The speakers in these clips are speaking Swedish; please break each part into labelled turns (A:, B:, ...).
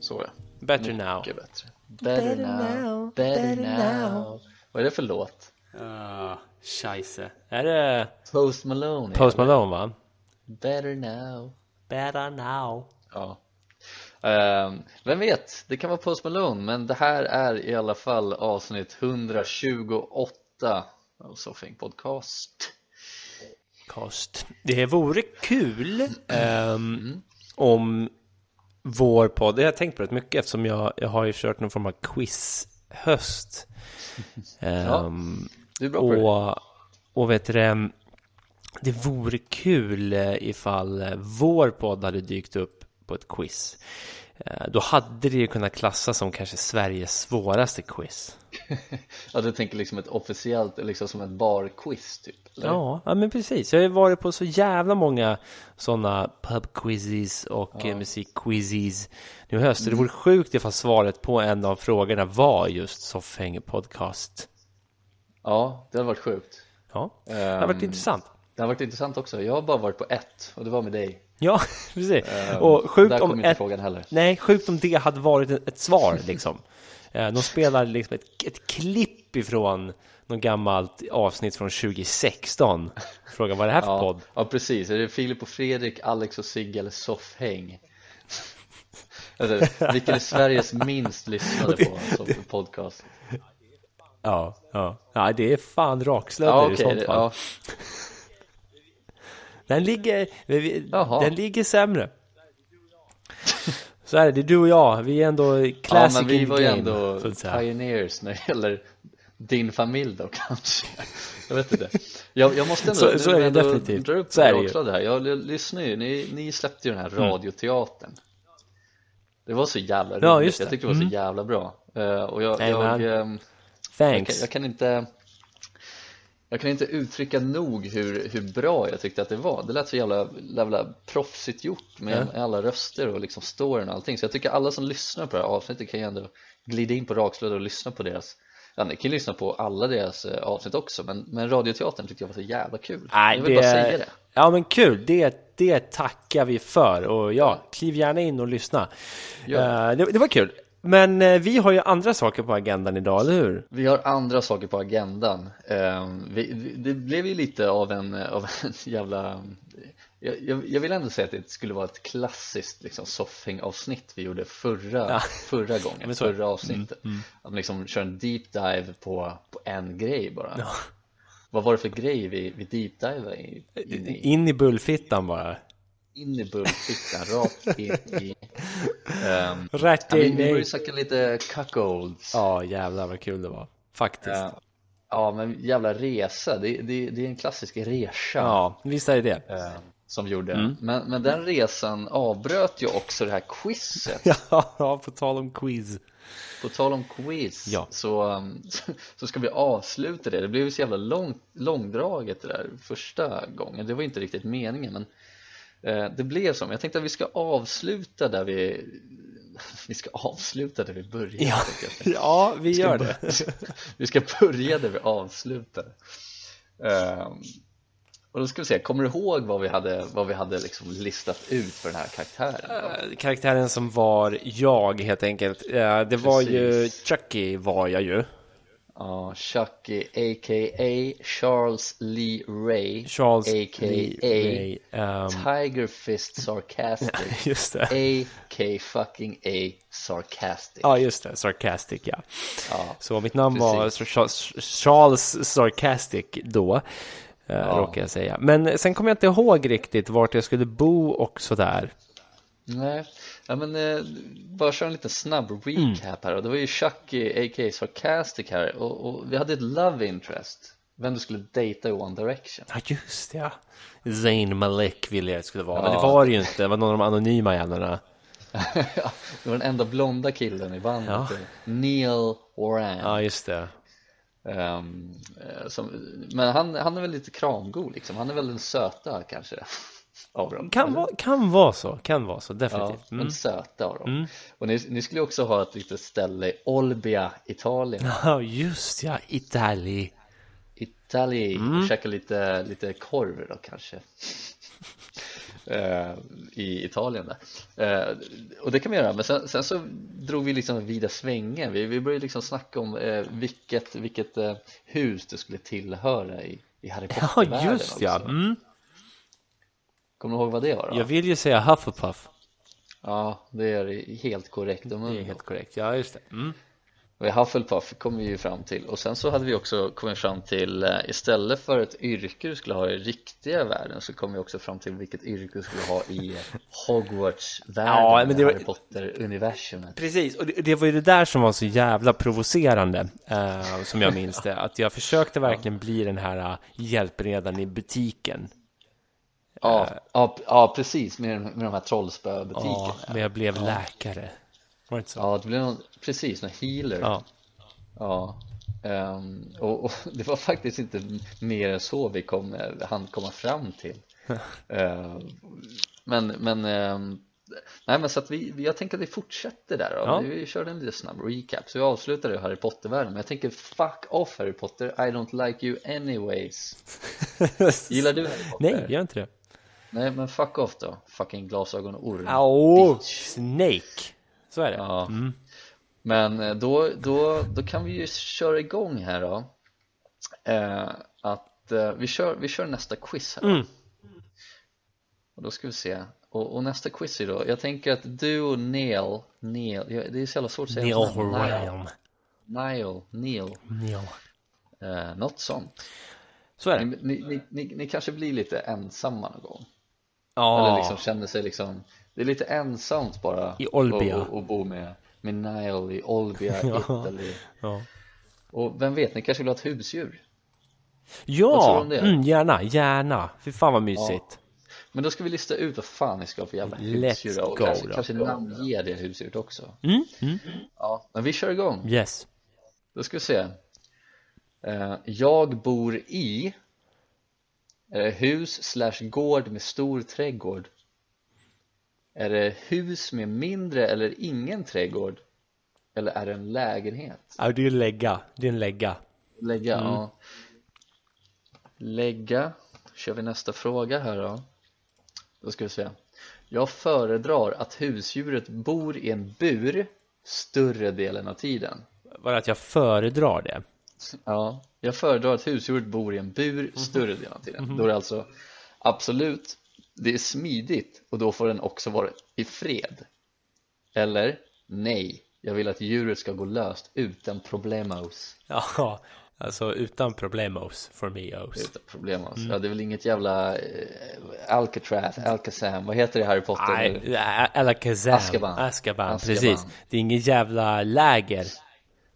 A: Så ja.
B: Better now.
A: Mycket bättre. Better, now. Better, now. Vad är det för låt?
C: Ah, scheisse.
B: Är det
A: Post Malone.
B: Post
A: eller?
B: Malone va?
A: Better now.
C: Better now.
A: Ja. Ehm, vem vet, det kan vara Post Malone, men det här är i alla fall avsnitt 128 av Soffing Podcast.
B: Cast. Det vore kul ehm, om vår podd, det har jag tänkt på rätt mycket eftersom jag, jag har ju kört någon form av quizhöst. Ehm,
A: Du är bra på det.
B: Och, och vet du det, det vore kul eh, ifall eh, vår podd hade dykt upp på ett quiz. Eh, Då hade det ju kunnat klassas som kanske Sveriges svåraste quiz.
A: Ja, du tänker liksom ett officiellt, liksom som ett barquiz typ? eller?
B: Ja, ja men precis. Jag har ju varit på så jävla många sådana pubquizzes och ja. musikquizzes nu i höst. Det vore sjukt ifall svaret på en av frågorna var just Soffhäng podcast.
A: ja, det hade varit sjukt.
B: Ja, det har
A: Ehm.
B: varit intressant.
A: Det har varit intressant också. Jag har bara varit på ett och det var med dig.
B: Ja, precis.
A: Ehm,
B: och sjukt
A: där kom
B: om
A: inte
B: ett,
A: frågan heller.
B: Nej, sjukt om det hade varit ett ett svar liksom. Eh, De spelar liksom ett, ett klipp ifrån något gammalt avsnitt från 2016. Frågan vad är det här för
A: Ja,
B: podd?
A: ja, precis. Är det Filip och Fredrik, Alex och Sigge eller Soffhäng? Alltså, vilken är Sveriges minst lyssnade på som podcast?
B: Ja, ja. ja det är fan rakslödder
A: Ja,
B: i
A: okej.
B: sånt
A: det-
B: fall.
A: ja,
B: Den, ligger, vi- vi-
A: Jaha.
B: den ligger sämre. Så här, det är du och jag, vi är ändå classic
A: ja, men vi
B: in
A: var
B: the
A: ju
B: game.
A: ändå
B: så att säga.
A: pioneers när det gäller din familj då kanske Jag vet inte Jag, jag måste ändå,
B: Så- så
A: nu
B: är det
A: när jag ändå
B: definitivt.
A: drar upp
B: Så är det ju. Mm.
A: rakblad här Jag l- lyssnar ju, ni, ni släppte ju den här radioteatern Det var så jävla roligt,
B: Ja, just det. Mm.
A: jag tyckte det var så jävla bra Eh, Och jag,
B: Nej,
A: jag,
B: men-
A: ehm, jag, kan,
B: Thanks.
A: jag kan inte jag kan inte uttrycka nog hur, hur bra jag tyckte att det var Det lät så jävla, jävla proffsigt gjort med alla röster och liksom storyn och allting Så jag tycker alla som lyssnar på det här avsnittet kan ju ändå glida in på Rakslöd och lyssna på deras Ja, ni kan ju lyssna på alla deras eh, avsnitt också men, men radioteatern tyckte jag var så jävla kul
B: Nej,
A: Jag
B: det,
A: vill bara säga det
B: Ja, men kul. Det, det tackar vi för. Och ja, kliv gärna in och lyssna.
A: Ja.
B: Eh, det, det var kul. Men eh, vi har ju andra saker på agendan idag, eller hur?
A: Vi har andra saker på agendan. Ehm, vi, vi- det blev ju lite av en, av en jävla... Jag, jag, jag vill ändå säga att det skulle vara ett klassiskt liksom, soffhängavsnitt vi gjorde förra, förra gången,
B: men så- Mm,
A: förra avsnittet. Att liksom köra en deep dive på, på en grej bara. Vad var det för grej vi, vi deep divade i? In, i,
B: In i bullfittan bara.
A: in i bullfickan, rakt in i... Ehm,
B: Rätt
A: ja, vi,
B: in
A: vi började
B: i...
A: snacka lite cuckolds.
B: Ja, jävlar vad kul det var. Faktiskt.
A: Ja. Ja men jävla resa, det, det, det är en klassisk resa
B: Ja, visst är det det.
A: eh, som gjorde
B: Mm.
A: men, men den resan avbröt ju också det här quizet
B: Ja, på tal om quiz.
A: På tal om quiz
B: Ja.
A: så, um, så ska vi avsluta det, det blev ju så jävla lång, långdraget det där första gången Det var inte riktigt meningen men eh, det blev som, jag tänkte att vi ska avsluta där vi Vi ska avsluta där vi började
B: Ja,
A: tänkte jag.
B: ja vi gör det.
A: vi ska börja där vi avslutar Ehm, Och då ska vi se, kommer du ihåg vad vi hade, vad vi hade liksom listat ut för den här karaktären?
B: Eh, Karaktären som var jag, helt enkelt. Eh, Det var ju...
A: Precis.
B: Chucky var jag ju.
A: Ja, Chucky a.k.a. Charles Lee Ray
B: Charles
A: a.k.a.
B: Lee Ray. ehm,
A: Tiger Fist Sarcastic
B: Just det.
A: a.k. fucking a Sarcastic
B: Ja, just det. Sarcastic, ja.
A: Ja,
B: Så mitt namn var
A: Precis.
B: Sir Charles- Charles Sarcastic då, eh, råkar jag säga. Men sen kommer jag inte ihåg riktigt vart jag skulle bo och sådär.
A: Nej, ja, men eh, bara köra en liten snabb
B: Mm.
A: recap här och det var ju Chucky a.k.a. Sarcastic här och, och vi hade ett love interest vem du skulle dejta i One Direction
B: Ja, just det, ja. Zayn Malik ville jag att det skulle vara, men
A: Ja.
B: det var det ju inte. Det var någon av de anonyma jävlarna.
A: Ja, eh, Det var den enda blonda killen i bandet
B: Ja.
A: Neil Oran
B: Ja, just det.
A: Ehm, eh, som, men han, han är väl lite kramgod liksom, han är väl den söta kanske av dem.
B: Kan,
A: eller?
B: vara, kan vara så, kan vara så,
A: Ja,
B: definitivt. Mm.
A: den söta av dem. Och ni, ni skulle ju också ha ett litet ställe i Olbia, Italien.
B: Ja, just ja, Italien.
A: Italien
B: Mm.
A: och käka lite, lite korv då kanske Eh, I Italien där Eh, Och det kan man göra, men sen, sen så drog vi liksom vida svängen Vi, vi började liksom snacka om eh, vilket, vilket eh, hus det skulle tillhöra i, i Harry
B: Ja,
A: Potter-världen
B: just ja.
A: också.
B: Mm.
A: Kommer du ihåg vad det var då?
B: Jag vill ju säga Hufflepuff.
A: Ja, det är helt korrekt om
B: Det är helt korrekt, ja just det. Mm.
A: Och i Hufflepuff kom vi ju fram till och sen så hade vi också kommit fram till eh, istället för ett yrke du skulle ha i riktiga världen så kom vi också fram till vilket yrke du skulle ha i Hogwarts-världen,
B: Ja, men det var-
A: Harry Potter-universumet
B: Precis, och det, det var ju det där som var så jävla provocerande, eh, som jag minns det. Att jag försökte verkligen bli den här eh, hjälpredan i butiken.
A: ja, ja, ja, precis, med, med de här trollspöbutikerna
B: Ja, men jag blev läkare. Var det inte så?
A: Ja, det blev någon, precis, någon healer
B: Ja.
A: Ja, ehm, och, och det var faktiskt inte mer än så vi kom, eh, hann komma fram till. Eh, men, men, ehm, nej men så att vi, vi- jag tänker att vi fortsätter där då.
B: Ja.
A: Vi, vi körde en liten snabb recap, så vi avslutade i Harry Potter-världen. Men jag tänker fuck off Harry Potter, I don't like you anyways. Gillar du Harry Potter?
B: Nej, gör inte det.
A: Nej, men fuck off då, fucking glasögonorm.
B: Au, Snake. Så är det.
A: Ja. Men eh, då, då, då kan vi ju köra igång här då. Eh, att eh, vi, kör, vi kör nästa quiz här. då.
B: Mm.
A: Och då ska vi se. Och, och nästa quiz är då, jag tänker att du och Neil, Neil, ja, det är så jävla svårt att säga
B: Neil
A: hans namn.
B: Horan.
A: Neil, Neil,
B: Neil.
A: eh, något sånt.
B: Så är
A: Ni,
B: det.
A: ni, ni, ni, ni kanske blir lite ensamma någon gång. Eller liksom
B: Ja,
A: känner sig liksom Det är lite ensamt bara
B: I Olbia.
A: och, och, och bo med, med Nile i Olbia, Italy
B: Ja.
A: Och vem vet, ni kanske vill ha ett husdjur? Vad tror du
B: ja.
A: om det?
B: Mm, gärna, gärna. Fy fan vad mysigt.
A: Men då ska vi lista ut vad fan ni ska ha för jävla
B: Let's
A: husdjur och
B: go
A: kanske,
B: då.
A: kanske namnge det husdjuret också
B: Mm, mm.
A: Ja, men vi kör igång
B: Yes.
A: Då ska vi se Eh, Jag bor i Är det hus slash gård med stor trädgård? Är det hus med mindre eller ingen trädgård? Eller är det en lägenhet?
B: Ja, det är ju en lägga. Det är en lägga.
A: Lägga, ja Lägga kör vi nästa fråga här då Då ska vi se Jag föredrar att husdjuret bor i en bur större delen av tiden
B: Bara att jag föredrar det.
A: Ja, jag föredrar att husdjuret bor i en bur större delen av tiden. Då är det alltså absolut, det är smidigt och då får den också vara i fred. Eller nej, jag vill att djuret ska gå löst utan problemos.
B: Ja, alltså utan problemos for me os.
A: Utan problemos.
B: Mm.
A: Ja, det är väl inget jävla eh, Alcatraz, Alcazam, vad heter det i Harry Potter?
B: Nej, ä- eller Kazam.
A: Azkaban.
B: Azkaban,
A: Azkaban.
B: precis. Det är ingen jävla läger.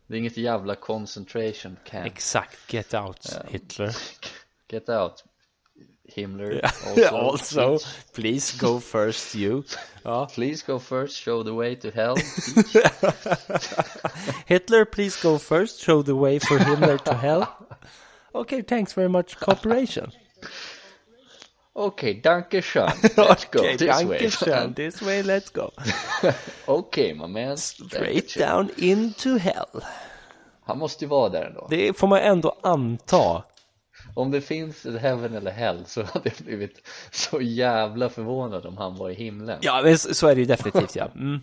A: Det är inget jävla concentration camp.
B: Exakt, get out Hitler.
A: Get out. Himmler
B: Also, please go first you. Ja.
A: Please go first, show the way to hell.
B: Hitler, please go first. Show the way for Hitler to hell. Okay, thanks very much. Cooperation.
A: Okej, danke schön. Let's go
B: okay,
A: this way.
B: Dankeschön. This way, let's go.
A: Okej, my man.
B: Straight down into hell.
A: Han måste ju vara där ändå.
B: Det får man ändå anta.
A: Om det finns ett heaven eller hell så hade jag blivit så jävla förvånad om han var i himlen.
B: Ja, men så så är det ju definitivt ja. Mm.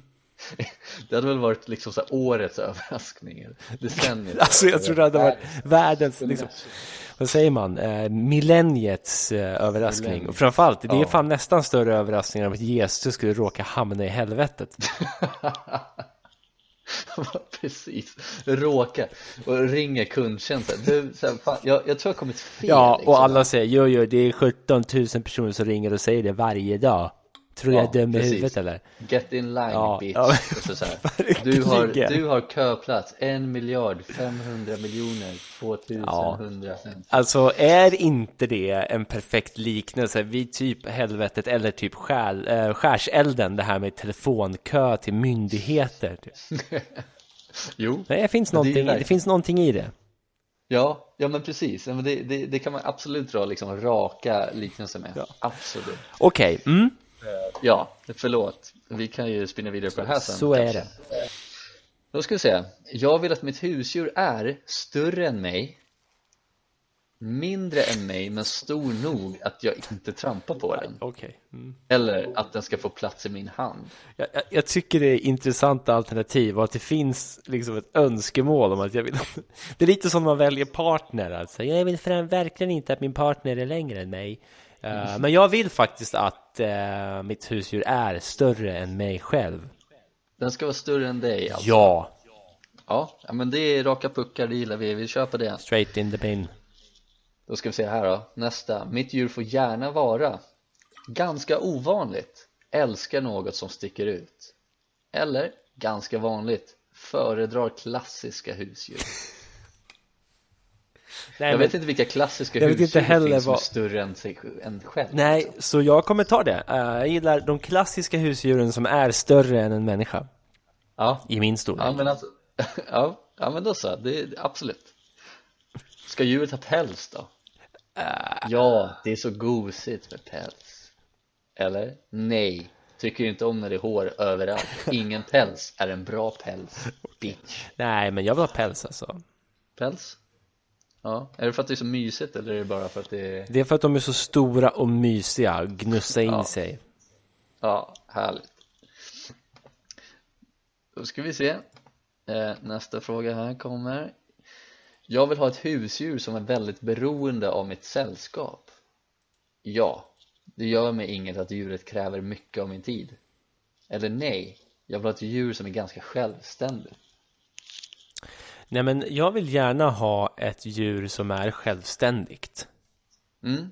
A: Det hade väl varit liksom så här årets överraskning. eller Decenniet.
B: Alltså jag tror det hade varit världens, liksom, vad säger man, eh, millenniets eh, överraskning. Och framförallt, det är fan nästan större överraskning än att Jesus skulle råka hamna i helvetet.
A: Precis. Råka och ringer kundtjänsten. Du, så här, fan, jag, jag tror jag har kommit fel.
B: Ja,
A: liksom.
B: och alla säger jo, jo, det är 17 000 personer som ringer och säger det varje dag. Tror jag
A: Ja,
B: är dum i
A: precis.
B: huvudet eller?
A: Get in line
B: Ja,
A: bitch.
B: ja,
A: och så så här, du, har,
B: verkligen.
A: du har köplats 1 miljard 500 miljoner 2150.
B: Alltså är inte det en perfekt liknelse vid typ helvetet eller typ skäl, eh, skärselden, det här med telefonkö till myndigheter? Typ.
A: Jo,
B: Nej, det finns
A: Men det är ju
B: någonting, det
A: verkligen-
B: finns någonting i det.
A: Ja, ja men precis. Ja, men det, det, det kan man absolut dra liksom raka liknelser med. Absolut.
B: Okej, mm.
A: Ja, förlåt. Vi kan ju spinna vidare på det här sen.
B: så är
A: kanske.
B: det.
A: Då ska vi se. Jag vill att mitt husdjur är större än mig, mindre än mig men stor nog att jag inte trampar på den.
B: Okej. Mm.
A: Eller att den ska få plats i min hand.
B: Jag, jag, jag tycker det är intressanta alternativ och att det finns liksom ett önskemål om att jag vill... Det är lite som man väljer partner alltså. Jag vill fram, verkligen inte att min partner är längre än mig. Eh, Men jag vill faktiskt att eh, mitt husdjur är större än mig själv.
A: Den ska vara större än dig alltså.
B: Ja,
A: Ja, ja, men det är raka puckar, det gillar vi. Vi kör på det.
B: straight in the bin.
A: Då ska vi se här då, nästa. Mitt djur får gärna vara ganska ovanligt, älskar något som sticker ut. Eller ganska vanligt, föredrar klassiska husdjur.
B: Nej,
A: Jag
B: men-
A: vet inte vilka klassiska
B: Jag vet
A: husdjur
B: inte heller
A: det finns
B: vad-
A: som är större än, sig, än själv.
B: Nej, så jag kommer ta det. Eh, Jag gillar de klassiska husdjuren som är större än en människa.
A: Ja,
B: I min storlek.
A: ja men alltså, ja, ja men då så, det, absolut. Ska djuret ha päls då? Ja, det är så gosigt med päls. Eller? Nej, tycker inte om när det är hår överallt. Ingen päls är en bra päls. Bitch.
B: Nej, men jag vill ha päls alltså.
A: Päls? Ja, är det för att det är så mysigt eller är det bara för att det är,
B: Det är för att de är så stora och mysiga, gnussa in
A: Ja.
B: sig.
A: ja, härligt. Då ska vi se. Eh, Nästa fråga här kommer. Jag vill ha ett husdjur som är väldigt beroende av mitt sällskap. Ja, det gör mig inget att djuret kräver mycket av min tid. Eller nej, jag vill ha ett djur som är ganska självständigt.
B: Nej, men jag vill gärna ha ett djur som är självständigt.
A: Mm,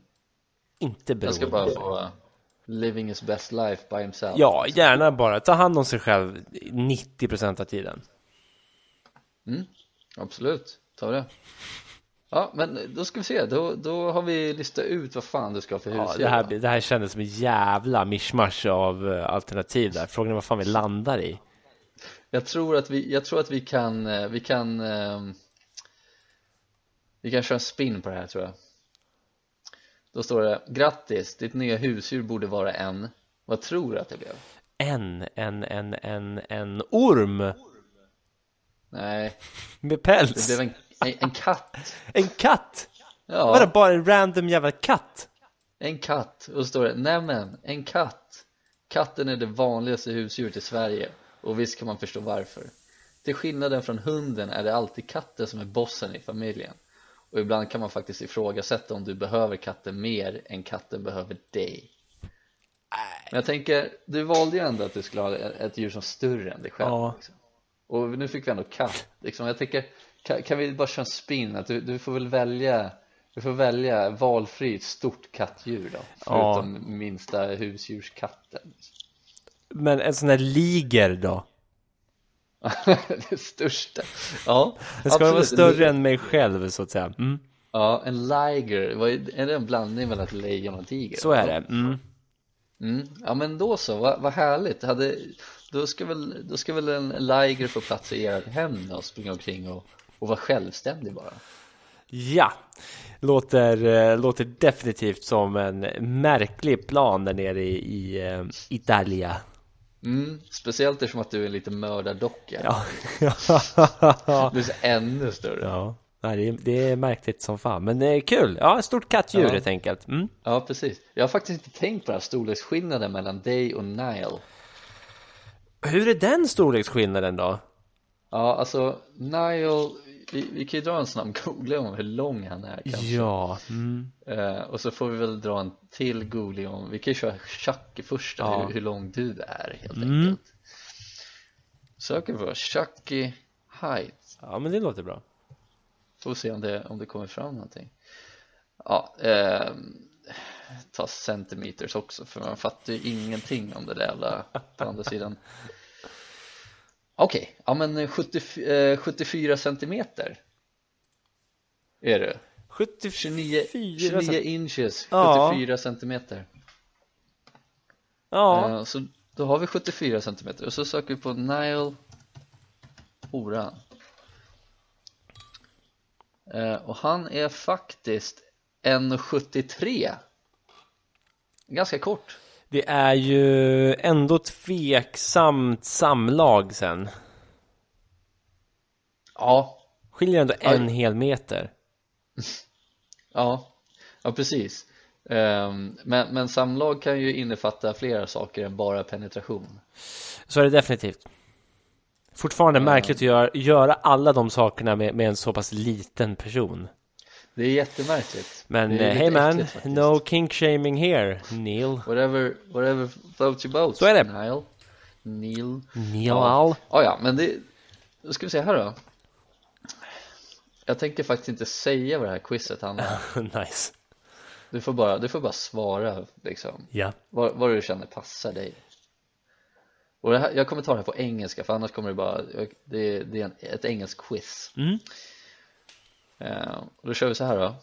B: Inte
A: jag
B: beroende.
A: ska bara få eh, living his best life by himself.
B: Ja, gärna bara ta hand om sig själv 90% av tiden.
A: Absolut, ta det Ja, men då ska vi se, då, då har vi listat ut vad fan du ska ha för hus
B: Ja, det, här, det här kändes som en jävla mischmasch av eh, alternativ där. Frågan är vad fan vi landar i.
A: Jag tror att vi, jag tror att vi kan, eh, vi kan ehm, Vi kan köra en spin på det här tror jag Då står det, grattis, ditt nya husdjur borde vara en Vad tror du att det blev?
B: En, en, en, en, en orm
A: Nej,
B: med
A: det
B: päls.
A: blev en, en, en katt
B: En katt! Vadå,
A: Ja,
B: bara en random jävla katt?
A: en katt, och så står det, nämen, en katt Katten är det vanligaste husdjuret i Sverige och visst kan man förstå varför Till skillnaden från hunden är det alltid katten som är bossen i familjen och ibland kan man faktiskt ifrågasätta om du behöver katten mer än katten behöver dig Men jag tänker, du valde ju ändå att du skulle ha ett djur som är större än dig själv
B: Ja.
A: liksom. Och nu fick vi ändå katt liksom. Jag tänker, kan, kan vi bara köra en spin? Att du, du får väl välja du får välja valfri stort kattdjur då,
B: Ja.
A: förutom minsta husdjurskatten
B: Men en sån här liger då?
A: Det största, ja
B: Den ska vara
A: absolut.
B: större än mig själv så att säga. Mm.
A: Ja, en liger, Vad är är det en blandning mellan ett lejon och en tiger?
B: Så är det. Mm.
A: Mm. Ja men då så, vad, vad härligt hade, då, ska väl, då ska väl en liger få plats i ert hem och springa omkring och, och vara självständig bara
B: Ja, låter, eh, låter definitivt som en märklig plan där nere i, i eh, Italia.
A: mm. Speciellt eftersom att du är en liten mördardocka
B: Ja,
A: Du är så ännu större
B: ja. Nej, det, är, det är märkligt som fan. Men det är kul. Ja, ett stort kattdjur
A: Ja.
B: helt enkelt. Mm.
A: Ja precis, jag har faktiskt inte tänkt på den här storleksskillnaden mellan dig och Nile
B: Hur är den storleksskillnaden då?
A: Ja alltså Nile, vi, vi kan ju dra en snabb googling om hur lång han är kanske
B: Ja, mm.
A: Eh, och så får vi väl dra en till googling om, vi kan ju köra Chucky först då,
B: Ja.
A: hur, hur lång du är helt
B: Mm.
A: enkelt Söker vi på Chucky height,
B: ja men det låter bra.
A: får vi se om det, om det kommer fram någonting Ja, ehm, ta centimeters också för man fattar ju ingenting om det där jävla på andra sidan Okej, ja men 70, eh, 74 centimeter är du
B: 74
A: 29, 29 inches,
B: Ja.
A: 74 centimeter
B: Ja,
A: Eh, Så då har vi 74 centimeter och så söker vi på Nile Horan Eh, Och han är faktiskt 1,73 Ganska kort
B: Det är ju ändå tveksamt samlag sen.
A: Ja,
B: Skiljer ändå
A: Ja.
B: en hel meter.
A: ja, ja precis Ehm, men, men samlag kan ju innefatta flera saker än bara penetration
B: Så är det definitivt. Fortfarande märkligt att göra, göra alla de sakerna med, med en så pass liten person.
A: Det är jättemärkligt
B: Men
A: Det är
B: eh,
A: lite
B: hey man,
A: äckligt faktiskt.
B: no kink shaming here. Neil.
A: Whatever, whatever floats your boat
B: Så är det.
A: Nile Neil
B: Neil.
A: Ja. Ah, ja, men det, då ska vi se här då Jag tänker faktiskt inte säga vad det här quizet handlar om
B: nice.
A: Du får bara, du får bara svara liksom
B: Ja.
A: Vad, vad du känner passar dig och det här, jag kommer ta det här på engelska för annars kommer det bara, jag- det, är- det är en, ett engelskt quiz
B: Mm.
A: Eh, och då kör vi så här då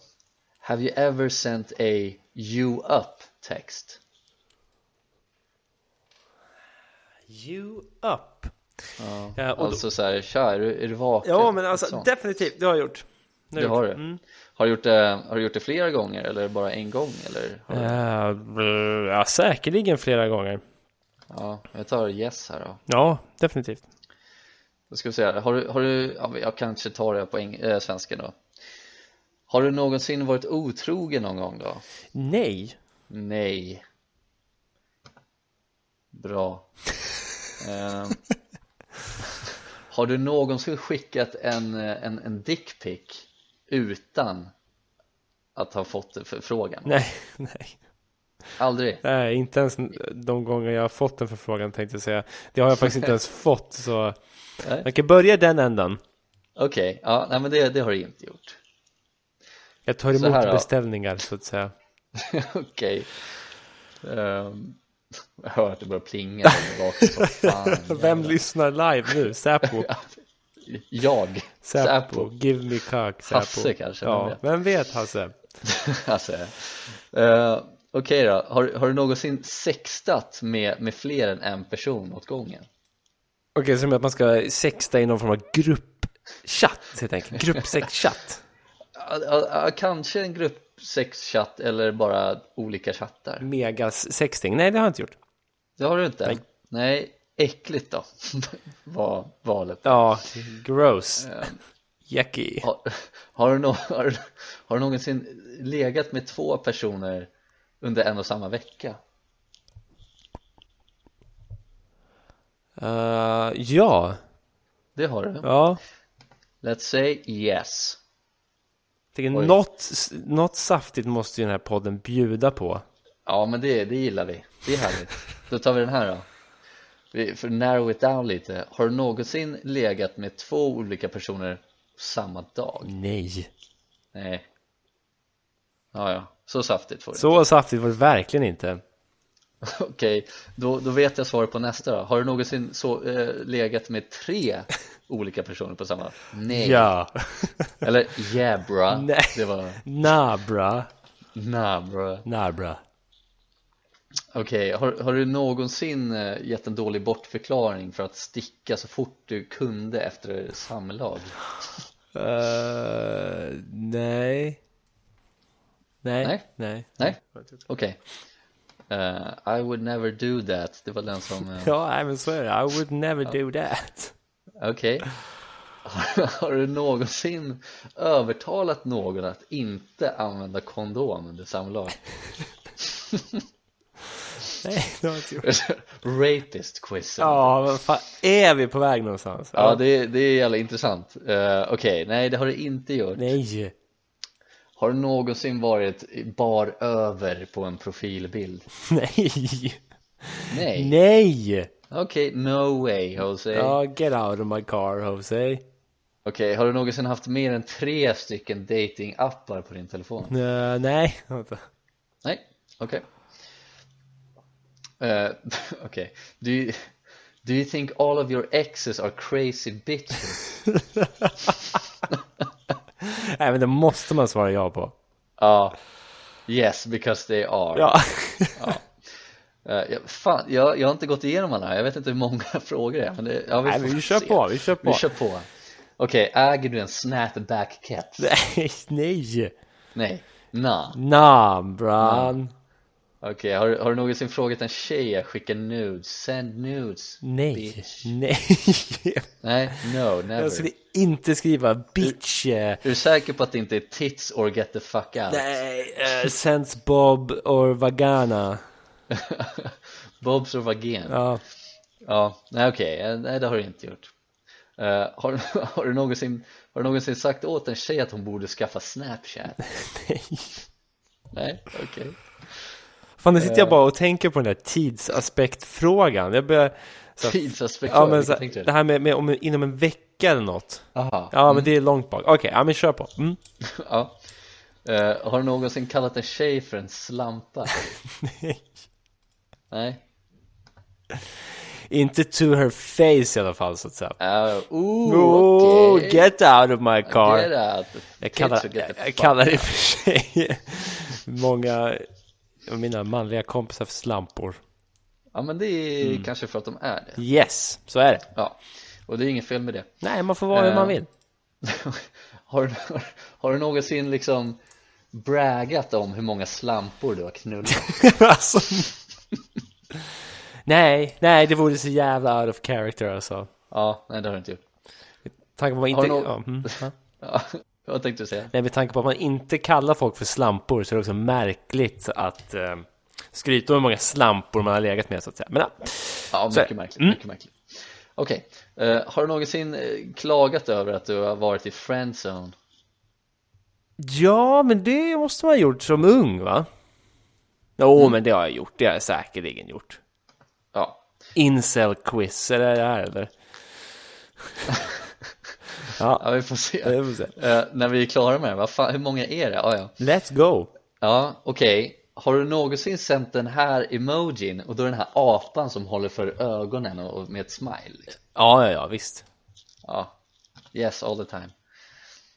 A: Have you ever sent a you up text?
B: You up.
A: Ja,
B: Ja, Eh, och då-
A: alltså så här, tja är du, är du vaken?
B: Ja, men
A: Ett
B: alltså
A: sånt.
B: definitivt. Det har jag gjort. Det
A: Det
B: jag
A: har
B: gjort.
A: du? Mm. Har, du gjort det, har du gjort det flera gånger eller bara en gång? Eller har du,
B: Eh, bl- ja, säkerligen flera gånger.
A: ja, jag tar yes här då
B: Ja, definitivt.
A: Då ska vi se här, har du, har du ja, men jag kanske tar det på eng, äh, svenska då Har du någonsin varit otrogen någon gång då?
B: Nej.
A: Nej Bra Ehm, Har du någonsin skickat en, eh, en, en dickpic utan att ha fått en förfrågan?
B: Nej, nej.
A: Aldrig?
B: Nej, inte ens de gånger jag har fått en förfrågan tänkte jag säga. Det har jag faktiskt inte ens fått, så
A: Nej.
B: man kan börja i den änden.
A: Okej, ja, nej men det, det har du inte gjort
B: Jag tar
A: Så här
B: emot
A: då.
B: beställningar, så att säga.
A: Okej Ehm, Jag hör att det börjar plinga där bak, så fan,
B: Vem
A: jävlar.
B: lyssnar live nu? Säpo?
A: Jag,
B: Säpo?
A: Säpo,
B: Give me cock, Säpo.
A: Hasse kanske, vem
B: Ja,
A: vet?
B: vem vet Hasse?
A: alltså, eh, Okej då, har, har du någonsin sextat med, med fler än en person åt gången?
B: Okej, så det är att man ska sexta i någon form av gruppchatt, helt enkelt. Gruppsexchatt.
A: Ja, ja, ja, Kanske en gruppsexchatt eller bara olika chattar?
B: Megas sexting. Nej, det har jag inte gjort.
A: Det har du inte?
B: Nej.
A: Nej, äckligt då var valet
B: Ja, gross.
A: Eh,
B: Yucky.
A: har, har, du nå- har, du- har du någonsin legat med två personer under en och samma vecka?
B: Eh, ja,
A: Det har du
B: ja.
A: Let's say yes
B: Tänker,
A: Oj.
B: något, något saftigt måste ju den här podden bjuda på.
A: Ja men det, det gillar vi, det är härligt Då tar vi den här då Vi- För att narrow it down lite Har du någonsin legat med två olika personer samma dag?
B: Nej.
A: Nej Ja, ja, så saftigt får du
B: Så saftigt var det verkligen inte.
A: Okej, då, då vet jag svaret på nästa då Har du någonsin så, eh, legat med tre olika personer på samma? Nej
B: Ja.
A: Eller yeah bra
B: Nej.
A: Det var
B: Nabra.
A: nah bra
B: Nabra.
A: Okej, har, har du någonsin eh, gett en dålig bortförklaring för att sticka så fort du kunde efter samlag?
B: Uh, nej. Nej.
A: Nej.
B: Nej.
A: Nej? Okej Eh, I would never do that, det var den som... eh,
B: Ja, nej, men så är det. I would never do that.
A: Okej har, har du någonsin övertalat någon att inte använda kondom under samlag?
B: Nej, det har jag inte gjort.
A: Rapist quiz
B: Ja, vad fan är vi på väg någonstans?
A: Ja, det, är- det är jävla intressant Eh, Okej, nej det har du inte gjort
B: Nej.
A: Har du någonsin varit bar över på en profilbild?
B: Nej.
A: Nej
B: Nej.
A: Okej, no way Jose Okej,
B: Ja, get out of my car, Jose.
A: har du någonsin haft mer än tre stycken datingappar på din telefon?
B: Eh, nej, vänta.
A: Nej, okej Eh, Okej, do, you- do you think all of your exes are crazy bitches?
B: Nej, men det måste man svara ja på.
A: Ja, yes because they are
B: Ja.
A: Eh, jag, Fan, jag, jag har inte gått igenom alla här, jag vet inte hur många frågor det är men det, ja, vi
B: Nej,
A: får
B: men vi kör
A: se.
B: på, vi kör på.
A: Vi kör på Okej, Okej, äger du en snapback-keps?
B: Nej, nej.
A: Nej. Nah.
B: Nam, bran.
A: Okej, har, du- har du någonsin frågat en tjej att skicka nudes? Send nudes?
B: Nej, Alltså,
A: Bitch. Nej,
B: nej.
A: no, never.
B: Jag skulle inte skriva bitch. eh,
A: Är du säker på att det inte är tits or get the fuck out?
B: Nej, eh, sense Bob or Vagana.
A: Bobs och vagin? Ja,
B: Ja,
A: nej okej, eh, nej det har du inte gjort Eh, har, har, du någonsin, har du någonsin sagt åt en tjej att hon borde skaffa snapchat?
B: nej.
A: nej, okej
B: Fan, nu sitter jag bara och tänker på den där tidsaspektfrågan. Jag börjar... så här-
A: Tidsaspekt,
B: Ja, men så,
A: tänkte
B: här- det här med, med om, inom en vecka eller något.
A: Aha,
B: Ja, men det är långt bak. Okej, ja men kör på. Mm.
A: ja. Eh, Har du någonsin kallat en tjej för en slampa?
B: Nej.
A: nej?
B: Inte to her face i alla fall så att säga.
A: Uh, ooh,
B: Oh,
A: okej.
B: get out of my car!
A: Get out.
B: jag
A: Kids
B: kallar,
A: will get
B: jag,
A: the
B: jag
A: fuck
B: kallar i och för sig många av mina manliga kompisar för slampor.
A: Ja men det är
B: Mm.
A: kanske för att de är det
B: Yes, så är det.
A: Ja, och det är inget fel med det
B: Nej, man får vara hur
A: Eh.
B: man vill.
A: har, du, har, har du någonsin liksom bragat om hur många slampor du har knullat?
B: alltså. nej, nej, det vore så jävla out of character alltså.
A: Ja, nej det har du inte gjort
B: Tanken på att man
A: Har
B: inte,
A: du nå-
B: ja, mm, ja.
A: ja, Vad tänkte du säga?
B: nej, med tanke på att man inte kallar folk för slampor så är det också märkligt att eh, skryta om hur många slampor man har legat med så att säga. Men ja,
A: Ja,
B: Så-
A: mycket märkligt, mycket märkligt Okej, eh, har du någonsin eh, klagat över att du har varit i friendzone?
B: Ja, men det måste man ha gjort som ung, va? Jo, men det har jag gjort. Det har jag säkerligen gjort.
A: Ja,
B: Incel-quiz, är det det här eller?
A: ja vi får se
B: Det får vi se.
A: Eh, När vi är klara med det, vad fan, hur många är det? Ja, ja,
B: Let's go!
A: ja okej Har du någonsin sänt den här emojin och då den här apan som håller för ögonen och och med ett smile? liksom?
B: Ja, ja, ja, visst.
A: Ja, yes all the time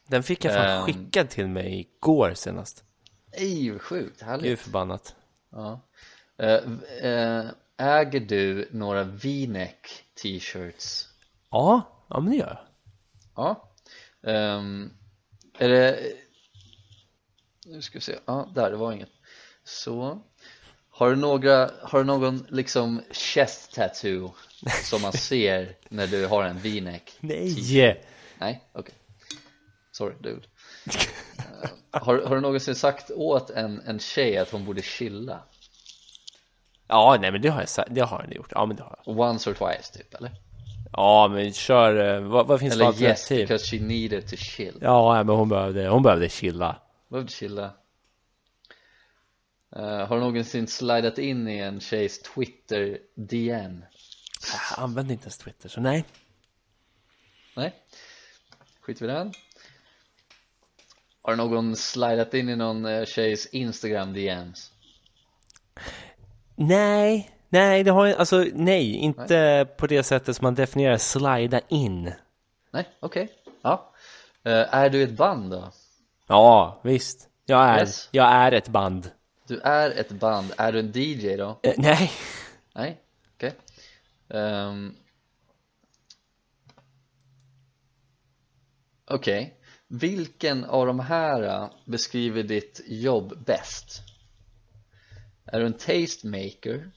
B: Den fick jag fan
A: Ehm.
B: skickad till mig igår senast.
A: Ej, vad sjukt,
B: Det är ju
A: härligt.
B: förbannat.
A: Ja. Eh, v- eh, äger du några v-neck t-shirts?
B: Ja, ja men det gör jag.
A: Ja. Ehm, är det... Nu ska vi se, ja, där, det var inget. Så. Har du, några, har du någon liksom chest tattoo som man ser när du har en v-neck?
B: Nej!
A: Nej, okej. Sorry, dude. Eh, har, har du någonsin sagt åt en, en tjej att hon borde chilla?
B: Ja, nej men det har jag, sä- det har jag gjort. Ja, men det har jag.
A: Once or twice typ eller?
B: Ja, men kör, eh, vad, vad finns det för
A: Eller yes
B: alternativ?
A: because she needed to chill
B: Ja, ja, men hon behövde, hon behövde chilla.
A: Behövde chilla Eh, Har du någonsin slidat in i en tjejs Twitter DM?
B: Jag använder inte ens Twitter, så nej.
A: Nej? Skit vi i den Har du någon slidat in i någon eh, tjejs Instagram DMs?
B: Nej, nej, det har jag, alltså nej, inte på det sättet som man definierar slida in.
A: Nej, okej, ja Eh, Är du ett band då?
B: Ja, visst. Jag är,
A: Yes.
B: jag är ett band.
A: Du är ett band, är du en DJ då?
B: Eh, nej,
A: Nej, okej Ehm. Okej, vilken av de här eh, beskriver ditt jobb bäst? Är du en tastemaker?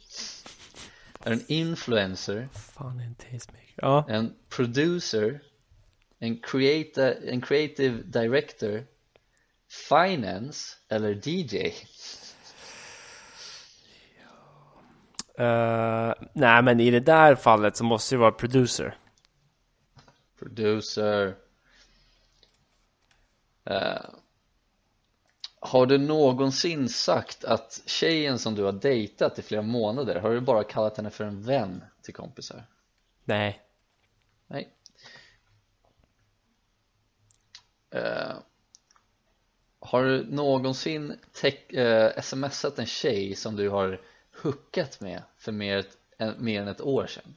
A: Är du en influencer?
B: fan är en tastemaker. Ja,
A: En producer? En, creator, en creative director? Finance? Eller DJ?
B: eh, nej men i det där fallet så måste det vara producer.
A: Producer Eh, Har du någonsin sagt att tjejen som du har dejtat i flera månader Har du bara kallat henne för en vän till kompisar?
B: Nej,
A: Nej Eh, Har du någonsin te- eh, smsat en tjej som du har hookat med för mer, ett, en- mer än ett år sedan?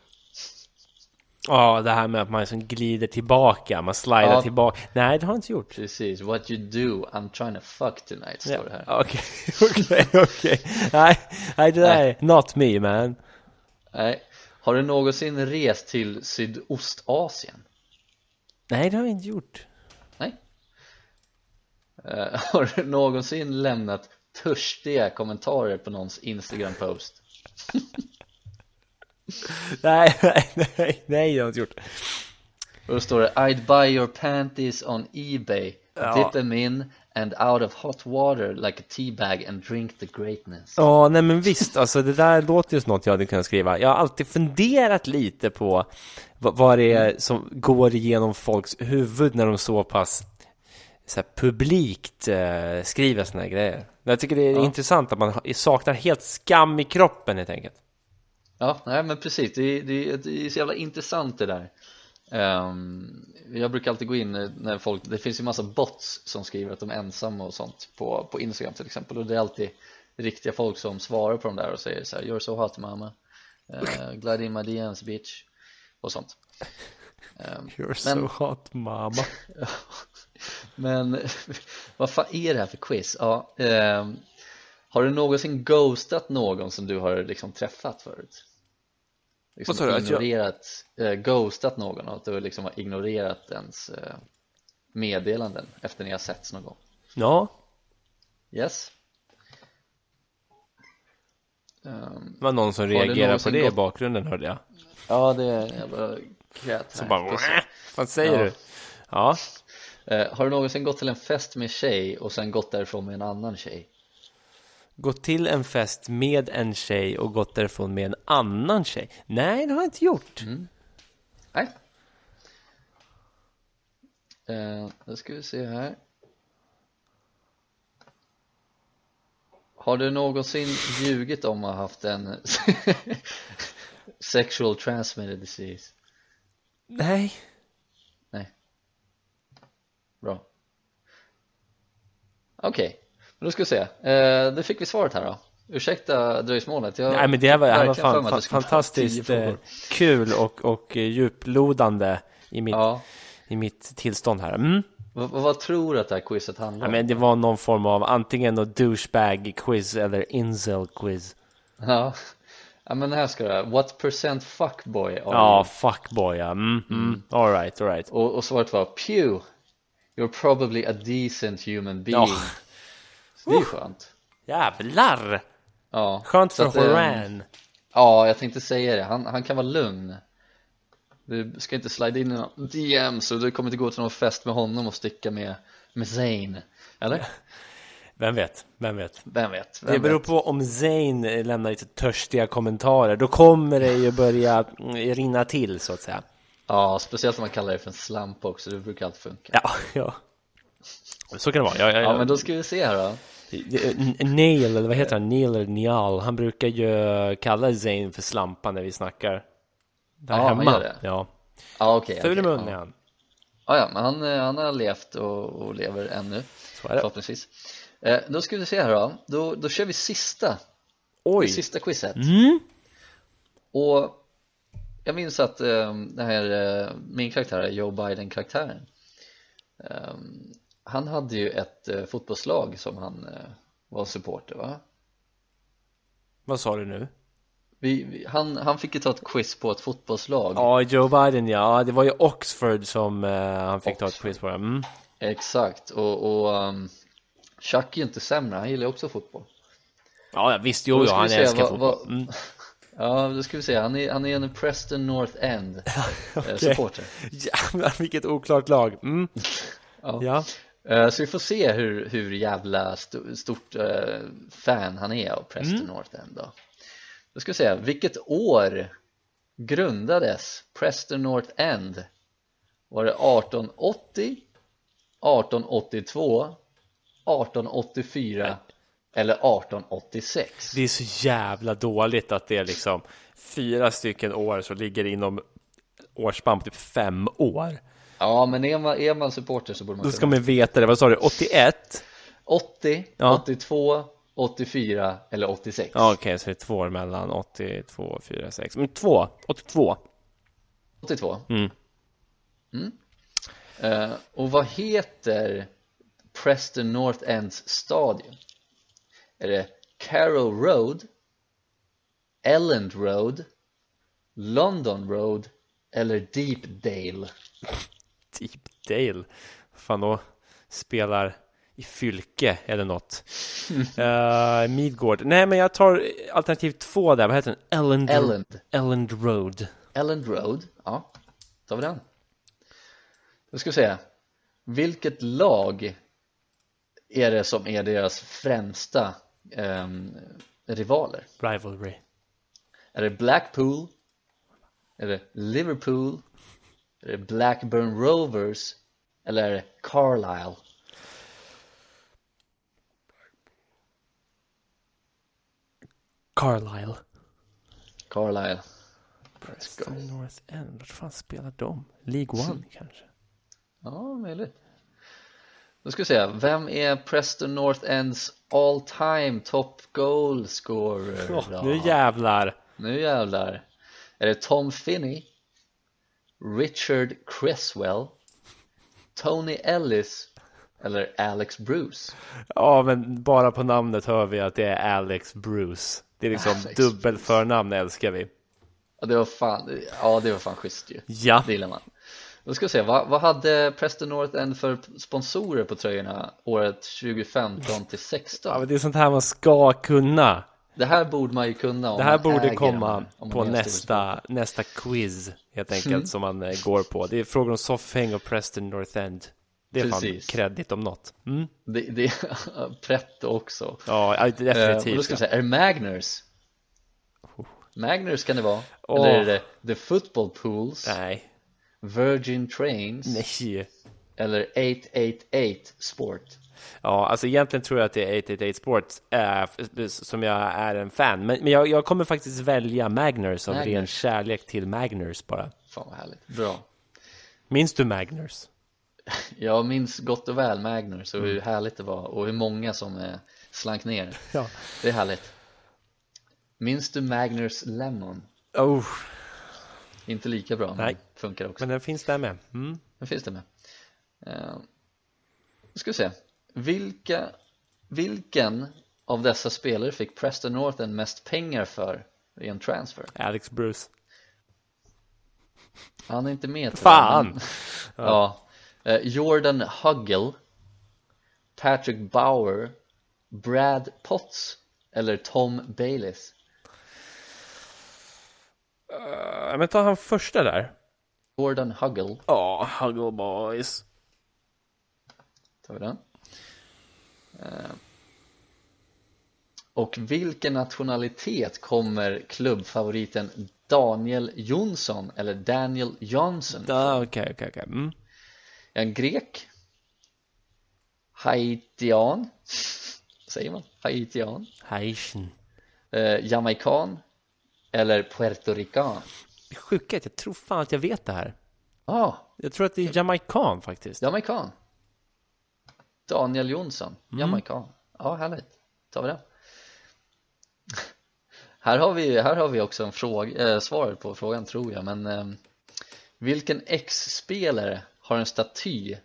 B: ja det här med att man liksom glider tillbaka, man slidar
A: Ja.
B: tillbaka. Nej, det har jag inte gjort.
A: Precis, what you do, I'm trying to fuck tonight står det här
B: Ja, Okej, okej, okej. Nej, nej det där är not me man.
A: Nej. Har du någonsin rest till Sydostasien?
B: Nej, det har jag inte gjort.
A: Nej. Eh, har du någonsin lämnat törstiga kommentarer på någons Instagram-post?
B: Nej, nej, nej, nej, det har jag inte gjort.
A: Och då står det I'd buy your panties on ebay
B: Ja.
A: Dip them in and out of hot water like a teabag and drink the greatness
B: Ja, nej men visst, alltså det där låter ju som något jag hade kunnat skriva. Jag har alltid funderat lite på vad, vad det är som går igenom folks huvud när de så pass så här, publikt eh, skriver såna här grejer. Men jag tycker det är intressant att man ha- saknar helt skam i kroppen helt enkelt.
A: Ja, nej men precis, det är, det är, det är så jävla intressant det där Ehm, Jag brukar alltid gå in när folk, det finns ju massa bots som skriver att de är ensamma och sånt på, på Instagram till exempel och det är alltid riktiga folk som svarar på dem där och säger så här, you're so hot mamma Eh, Glad in my DMs bitch och sånt Ehm,
B: You're
A: Men-
B: so hot mama.
A: Men vad fan är det här för quiz? Ja, ehm, har du någonsin ghostat någon som du har liksom träffat förut? Liksom
B: Vad sa du, att jag-
A: ignorerat, eh, ghostat någon och att du liksom har ignorerat ens eh, meddelanden efter ni har setts någon gång?
B: Ja,
A: Yes? Ehm,
B: det var någon som
A: det
B: reagerade på
A: någonsin
B: det i
A: gått-
B: bakgrunden hörde jag.
A: ja, det är en jävla krät
B: Så
A: här.
B: bara, vad säger
A: Ja.
B: du? Ja,
A: Eh, Har du någonsin gått till en fest med en tjej och sen gått därifrån med en annan tjej?
B: gått till en fest med en tjej och gått därifrån med en annan tjej? Nej, det har jag inte gjort.
A: Mm. Nej. Eh, då ska vi se här. Har du någonsin ljugit om att ha haft en sexual transmitted disease?
B: Nej.
A: Nej. Bra. Okej, men då ska vi se. Eh, då fick vi svaret här då. Ursäkta dröjsmålet. Jag
B: Nej men det här var, det här var
A: verkligen för
B: fan,
A: mig att det skulle vara
B: fantastiskt
A: tio
B: eh,
A: frågor.
B: kul och, och eh, djuplodande i mitt,
A: Ja.
B: i mitt tillstånd här. Mm.
A: Vad, vad tror du att det här quizet handlar
B: Ja,
A: om?
B: men det var någon form av antingen något douchebag-quiz eller incel-quiz.
A: Ja, ja men här ska det What percent fuckboy are
B: Ja,
A: you?
B: fuckboy ja. Mm, mm. Alright, alright.
A: Och, och svaret var Pew, you're probably a decent human being
B: Ja.
A: Så det är ju skönt
B: Jävlar!
A: ja.
B: Skönt
A: så
B: för
A: att, eh,
B: Horan.
A: Ja, jag tänkte säga det, han, han kan vara lugn Du ska inte slida in i någon DM så du kommer inte gå till någon fest med honom och sticka med, med Zane Eller?
B: Vem vet, vem vet.
A: Vem vet? Vem
B: Det beror
A: vet?
B: på om Zayn eh, lämnar lite törstiga kommentarer. Då kommer det ju börja mm, rinna till så att säga.
A: Ja, speciellt om man kallar det för en slamp också, det brukar alltid funka
B: Ja, ja. Så kan det vara. Ja, ja, ja.
A: Ja, men då ska vi se här då
B: N- Neil, eller vad heter han? Neil eller Nial. Han brukar ju kalla Zayn för slampa när vi snackar. Där
A: Ja, han
B: hemma.
A: gör det.
B: Ja.
A: Ja, okej
B: Ful i
A: okej,
B: munnen
A: ja.
B: är han.
A: Ah, ja, men han, eh, han har levt och, och lever ännu
B: Så är det.
A: förhoppningsvis eh, Då ska vi se här då, då, då kör vi sista,
B: Oj!
A: sista quizet
B: Mm.
A: Och jag minns att eh, den här, eh, min karaktär, Joe Biden-karaktären eh, Han hade ju ett eh, fotbollslag som han eh, var supporter va?
B: Vad sa du nu?
A: Vi, vi, han, han fick ju ta ett quiz på ett fotbollslag
B: Ja, Joe Biden ja. Det var ju Oxford som eh, han fick ta ett quiz på. Mm.
A: Exakt, och, och um, Chuck är ju inte sämre, han gillar ju också fotboll
B: Ja, ja, visst.
A: Då
B: Jo, jo
A: ska vi
B: han
A: se,
B: älskar
A: vad-
B: fotboll.
A: vad-
B: Mm.
A: Ja, då ska vi se, han är, han är en Preston North End eh, supporter
B: Jävlar, vilket oklart lag. Mm.
A: Ja.
B: Ja.
A: Eh, Så vi får se hur, hur jävla st- stort eh, fan han är av Preston
B: Mm.
A: North End då Då ska vi se, vilket år grundades Preston North End? Var det 1880, 1882, 1884 eller 1886?
B: Det är så jävla dåligt att det är liksom fyra stycken år som ligger inom årsspann på typ fem år.
A: Ja, men är man, är man supporter så borde man
B: Då
A: kunna
B: ska man veta det. Vad sa du? 81?
A: 80,
B: Ja.
A: 82, 84 eller 86
B: Ja, okej, så det är två år mellan 82 och 46. Men två, 82.
A: 82 Mm. Eh, Och vad heter Preston North Ends stadion? Är det Carrow Road, Elland Road, London Road eller Deepdale?
B: Deep Typ Dale. Fan då spelar i Fylke eller något. Eh, Midgård. Nej, men jag tar alternativ två där. Vad heter den? Elland,
A: Elland.
B: Elland Road.
A: Elland Road, ja, tar vi den. Då ska vi se, vilket lag är det som är deras främsta ehm, rivaler?
B: Rivalry.
A: Är det Blackpool? Är det Liverpool? Är det Blackburn Rovers? Eller är det Carlisle?
B: Carlisle.
A: Carlisle. Let's go.
B: North End. Vart fan spelar de? League One kanske?
A: Ja, möjligt. Då ska vi se, vem är Preston North Ends all time top goal scorer? då?
B: Åh, nu jävlar.
A: nu jävlar. Är det Tom Finney? Richard Cresswell? Tony Ellis? Eller Alex Bruce?
B: Ja, men bara på namnet hör vi att det är Alex Bruce. Det är liksom
A: Alex
B: dubbelförnamn älskar vi.
A: Ja, det var fan, ja, det var fan schysst ju.
B: Ja,
A: Det gillar man. Då ska vi se, vad, vad hade Preston North End för sponsorer på tröjorna året 2015 till 16?
B: ja men det är sånt här man ska kunna.
A: Det här borde man ju kunna om
B: Det här
A: man
B: borde
A: äger
B: komma
A: den, om man
B: på
A: är en stor Mm.
B: nästa, nästa quiz helt enkelt som man eh, går på. Det är frågor om Soffhäng och Preston North End. Det är
A: Precis.
B: fan kredit om något. Mm.
A: Det, det pretto också.
B: Ja, ja,
A: Eh, och då
B: definitivt.
A: ska vi säga, är det Magners? Magners kan det vara.
B: Åh.
A: Eller är det The Football Pools,
B: ja. Nej,
A: Virgin Trains
B: nej.
A: eller 888 Sport?
B: Ja, alltså egentligen tror jag att det är 888 Sports eh, f- f- som jag är en fan. Men, men jag, jag kommer faktiskt välja Magners av
A: Magners.
B: ren kärlek till Magners bara.
A: Fan vad härligt. Bra.
B: Minns du Magners?
A: Jag minns gott och väl Magners och hur
B: Mm.
A: härligt det var och hur många som eh, slank ner.
B: Ja.
A: Det är härligt. Minns du Magners Lemon?
B: Oh,
A: Inte lika bra, men
B: Nej.
A: funkar också.
B: men den finns där med. Mm.
A: Den finns det med. Eh, Nu ska vi se. Vilka, vilken av dessa spelare fick Preston Northern mest pengar för i en transfer?
B: Alex Bruce.
A: Han är inte med. tyvärr, men-
B: Fan!
A: Ja. Eh, Jordan Huggle, Patrick Bauer, Brad Potts eller Tom Bayliss?
B: Eh, Men ta han första där.
A: Jordan Huggle,
B: Ja, Huggle Boys.
A: tar vi den. Eh, Och vilken nationalitet kommer klubbfavoriten Daniel Jonsson eller Daniel Johnson?
B: Ja, Okej, okej, okej. Mm.
A: Är han grek? Haitian? Säger man? Haitian?
B: Haitian.
A: Eh, Jamaican? Eller puertorican?
B: Det sjuka är att jag tror fan att jag vet det här.
A: Ja,
B: Jag tror att det är jamaican faktiskt.
A: jamaican Daniel Jonsson, jamaican Ja, härligt, tar vi det Här har vi, här har vi också en fråga, eh, svaret på frågan tror jag men ehm, Vilken ex-spelare har en staty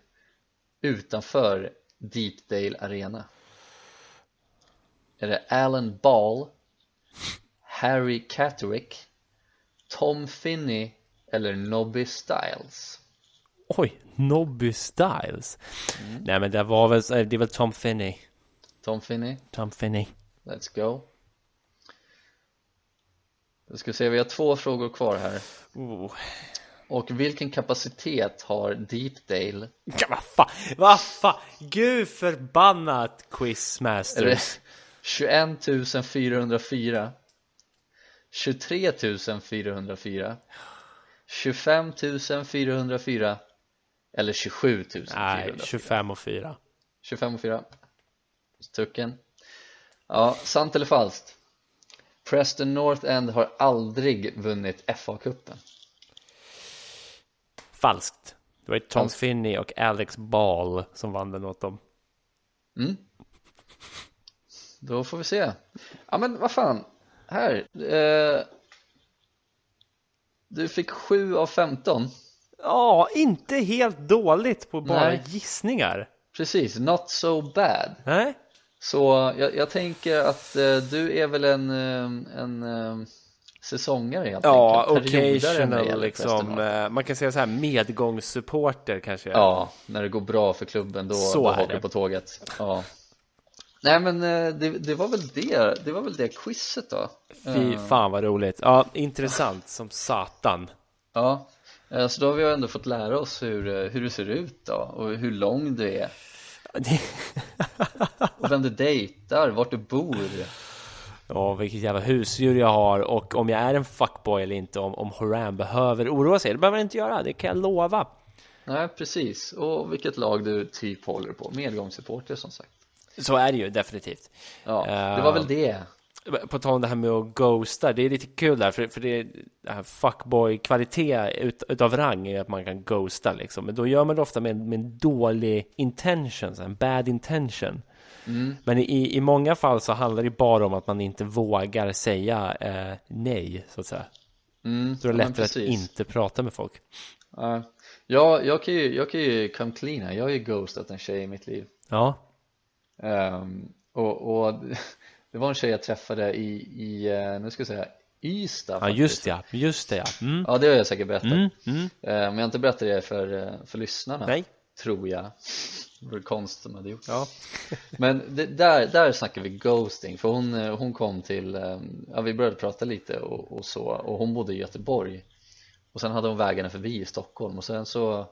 A: utanför Deepdale Arena? Är det Alan Ball, Harry Catterick, Tom Finney eller Nobby Styles?
B: Oj, Nobby Styles. Nej, men det var väl, eh, det är väl Tom Finney.
A: Tom Finney?
B: Tom Finney.
A: Let's go. Då ska vi se, vi har två frågor kvar här.
B: Oh.
A: Och vilken kapacitet har Deepdale?
B: Ja, vad fan, vad fan, gud förbannat
A: Är det
B: Quizmasters.
A: 21 404 23 404 25 404 eller 27
B: Nej,
A: 404?
B: 25 och 4.
A: 25 och 4 Tucken Ja, sant eller falskt? Preston North End har aldrig vunnit FA-cupen
B: Falskt. Det var ju Tom
A: Falskt.
B: Finney och Alex Ball som vann den åt dem.
A: Då får vi se. Ja men vad fan. Här. Eh, du fick 7 av 15.
B: Ja, inte helt dåligt på bara
A: Nej.
B: gissningar.
A: Precis, not so bad.
B: Nej?
A: Så jag, jag tänker att eh, du är väl en, eh, en eh, säsongare helt
B: Ja,
A: enkelt. Perioder är med i
B: occasional liksom.
A: Västernorrland.
B: eh, Man kan säga så här medgångssupporter kanske.
A: Ja, när det går bra för klubben då,
B: Så
A: då
B: är
A: hakar
B: det.
A: du på tåget. Ja. Nej men eh, det, det var väl det, det var väl det quizet då.
B: Fy fan vad roligt. Ja, intressant som satan.
A: Ja, eh, så då har vi ju ändå fått lära oss hur, eh, hur det ser ut då och hur lång du är och vem du dejtar, vart du bor.
B: Ja, vilket jävla husdjur jag har och om jag är en fuckboy eller inte, om, om Horan behöver oroa sig. Det behöver han inte göra, det kan jag lova.
A: Nej precis, och vilket lag du typ håller på, medgångssupporter som sagt.
B: Så är det ju definitivt.
A: Ja, det
B: Eh,
A: var väl det.
B: På tal om det här med att ghosta, det är lite kul där, för, för det är det här fuckboy-kvalitet ut, utav rang är att man kan ghosta liksom. Men då gör man det ofta med, med en dålig intention, så här, en bad intention.
A: Mm.
B: Men i, i många fall så handlar det bara om att man inte vågar säga eh, nej, så att säga.
A: Mm,
B: Så det är
A: ja, men
B: lättare att
A: precis.
B: inte prata med folk.
A: Ja, jag, jag, kan ju, jag kan ju come clean här, jag har ju ghostat en tjej i mitt liv.
B: Ja,
A: Ehm, och, och det var en tjej jag träffade i, i eh, nu ska jag säga, Ystad
B: ja
A: faktiskt.
B: just det, ja. just det ja. Mm.
A: Ja, det har jag säkert berättat.
B: Mm, mm.
A: Eh, Men jag har inte berättat det för, eh, för lyssnarna,
B: Nej.
A: tror jag. Det vore konstigt om jag hade gjort det.
B: Ja.
A: Men det, där, där snackar vi ghosting, för hon, eh, hon kom till, eh, ja vi började prata lite och, och så, och hon bodde i Göteborg. Och sen hade hon vägarna förbi i Stockholm och sen så,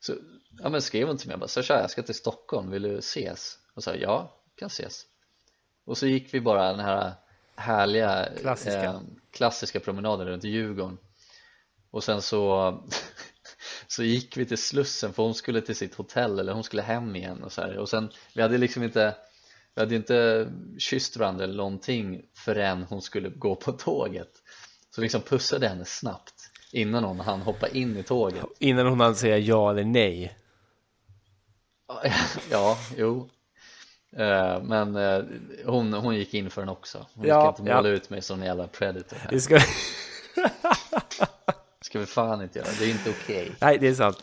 A: så ja, men skrev hon till mig, jag bara, så här, jag ska till Stockholm, vill du ses? Och så här, ja, kan ses. Och så gick vi bara den här härliga ehm,
B: Klassiska.
A: klassiska promenaden runt Djurgården. Och sen så så gick vi till Slussen för hon skulle till sitt hotell eller hon skulle hem igen och så här. och sen vi hade liksom inte vi hade ju inte kysst varandra eller någonting förrän hon skulle gå på tåget så liksom pussade jag henne snabbt innan hon hann hoppa in i tåget
B: Innan hon hann säga ja eller nej.
A: ja, jo Eh, men eh, hon, hon gick in för den också hon
B: Ja,
A: ska inte måla
B: ja.
A: ut mig som en jävla predator här
B: Det ska...
A: ska vi fan inte göra, det är inte okej
B: nej, det är sant.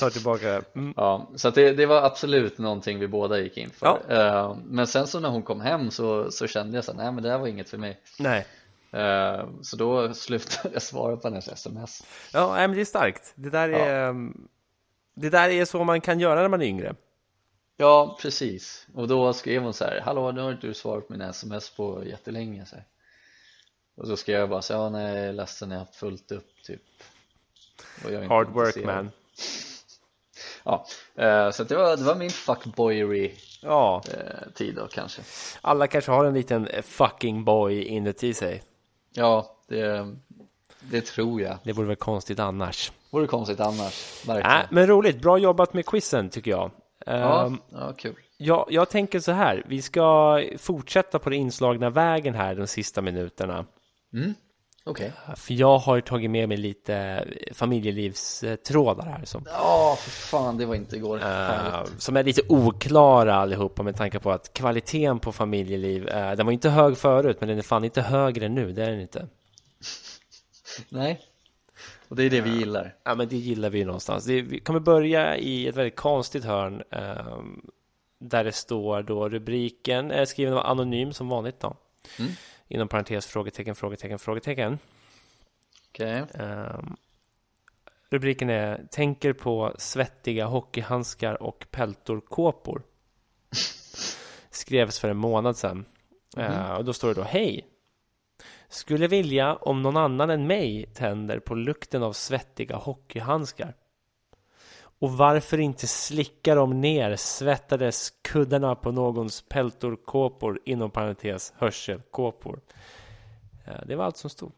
B: Ta tillbaka det. Mm.
A: Ja, så att det, det var absolut någonting vi båda gick in för. Eh, Men sen så när hon kom hem så, så kände jag så här, nej men det här var inget för mig.
B: Nej.
A: Eh, Så då slutade jag svara på hennes sms.
B: Ja, nej, men det är starkt. Det där är, ehm, det där är så man kan göra när man är yngre.
A: Ja, precis. Och då skrev hon så här, hallå nu har inte du svarat på mina sms på jättelänge. Så här. Och så skrev jag bara så här, ja nej jag är ledsen jag har haft fullt upp typ. Och jag är inte
B: Hard work
A: intresserad."
B: man.
A: Ja, eh, så att det, var, det var min fuckboyery
B: Ja,
A: eh, tid då kanske.
B: alla kanske har en liten eh, fucking boy inuti sig.
A: Ja, det, det tror jag.
B: Det vore väl konstigt annars.
A: Vore konstigt annars,
B: Nej,
A: verkligen.
B: men roligt. Bra jobbat med quizen tycker
A: Ja,
B: jag. Äh, Ehm,
A: ja, kul.
B: Jag, jag tänker så här, vi ska fortsätta på den inslagna vägen här de sista minuterna.
A: Mm. Okej.
B: För jag har ju tagit med mig lite familjelivstrådar här som,
A: Ja, för fan, det var inte igår. Fan.
B: eh, som är lite oklara allihopa med tanke på att kvaliteten på familjeliv, eh, den var inte hög förut men den är fan inte högre nu, det är den inte.
A: Nej. Och det är
B: Äh.
A: det vi gillar.
B: Ja men det gillar vi ju någonstans. Det, vi kommer börja i ett väldigt konstigt hörn ehm, där det står då rubriken, eh, skriven av anonym som vanligt då.
A: Mm.
B: Inom parentes frågetecken, frågetecken, frågetecken.
A: Okej.
B: Ehm, rubriken är Tänker på svettiga hockeyhandskar och peltorkåpor. Skrevs för en månad sedan. Eh, och då står det då Hej! Skulle vilja om någon annan än mig tänder på lukten av svettiga hockeyhandskar. Och varför inte slicka dem ner svettades kuddarna på någons peltorkåpor inom parentes hörselkåpor. Eh, det var allt som stod.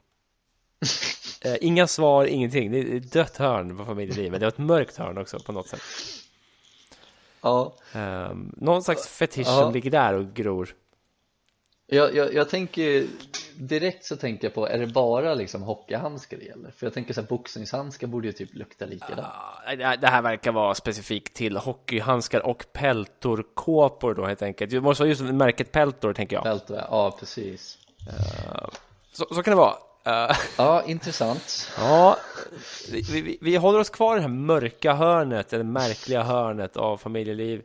B: Eh, inga svar, ingenting. Det är ett dött hörn på familjelivet. Det var ett mörkt hörn också på något sätt.
A: Ja,
B: Eh, någon slags fetisch
A: Ja.
B: som ligger där och gror.
A: jag, jag, jag tänker direkt så tänker jag på, är det bara liksom hockeyhandskar det gäller? För jag tänker så här, boxningshandskar borde ju typ lukta likadant.
B: Ah, det här- Det här verkar vara specifikt till hockeyhandskar och peltorkåpor då helt enkelt. Det måste vara just märket peltor tänker jag.
A: Bälte, ja precis.
B: Så, så kan det vara. Eh,
A: Ja, intressant.
B: ja, vi, vi, vi håller oss kvar i det här mörka hörnet, eller märkliga hörnet av familjeliv.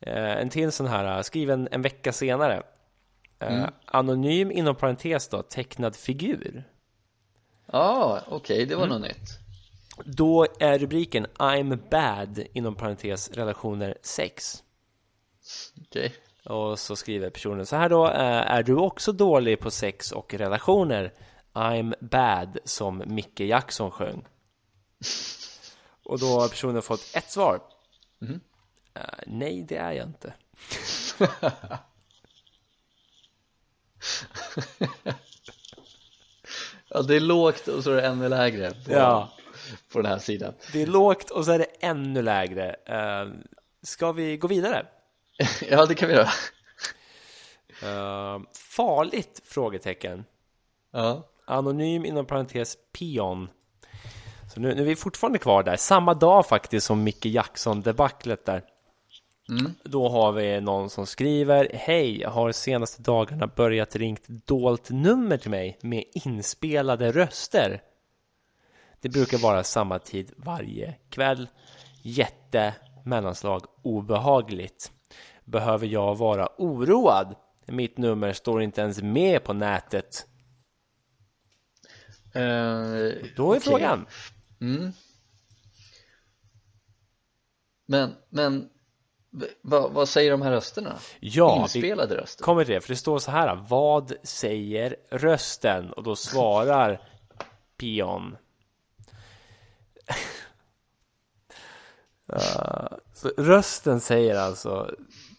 B: Eh, en till sån här, eh, skriven en vecka senare. Eh, Anonym inom parentes då, tecknad figur.
A: Ja, okej, det var
B: Mm.
A: något nytt.
B: Då är rubriken I'm bad inom parentes relationer 6.
A: Okej.
B: Och så skriver personen så här då. eh, Är du också dålig på sex och relationer? I'm bad som Micke Jackson sjöng. Och då har personen fått ett svar. Eh, Nej, det är jag inte.
A: Ja, det är lågt och så är det ännu lägre på,
B: Ja.
A: på den här sidan.
B: Det är lågt och så är det ännu lägre. Eh, Ska vi gå vidare?
A: ja, det kan vi göra.
B: Eh, Farligt? Frågetecken.
A: Ja.
B: Anonym inom parentes pion. Så nu, nu är vi fortfarande kvar där. Samma dag faktiskt som Micke Jackson-debaclet där.
A: Mm.
B: Då har vi någon som skriver Hej, har senaste dagarna börjat ringt dolt nummer till mig med inspelade röster. Det brukar vara samma tid varje kväll. Jätte, mellanslag, obehagligt. Behöver jag vara oroad? Mitt nummer står inte ens med på nätet.
A: Eh,
B: Då är
A: okej. Mm.
B: frågan.
A: Men, men v- vad, vad säger de här rösterna?
B: Ja, vi
A: Inspelade röster?
B: kommer till det, för det står så här. Vad säger rösten? Och då svarar Pion. Eh, så rösten säger alltså,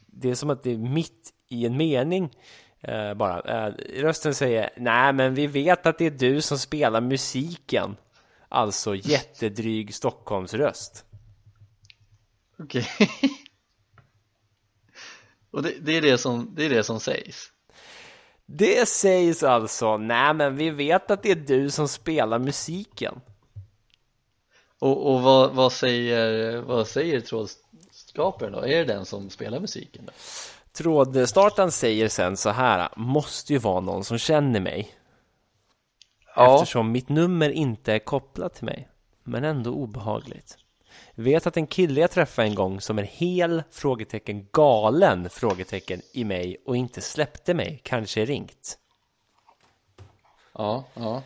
B: det är som att det är mitt i en mening eh, bara. Eh, rösten säger, nej men vi vet att det är du som spelar musiken. Alltså jättedryg Stockholmsröst.
A: Okej. Och det, det, är det, som, det är det som sägs?
B: Det sägs alltså, nej men vi vet att det är du som spelar musiken.
A: Och, och vad, vad säger, vad säger trådskaparen då? Är det den som spelar musiken? Då?
B: Trådstartaren säger sen så här, måste ju vara någon som känner mig. Eftersom mitt nummer inte är kopplat till mig. Men ändå obehagligt. Vet att en kille jag träffade en gång som är hel? Frågetecken galen? Frågetecken i mig och inte släppte mig. Kanske ringt.
A: Ja, ja.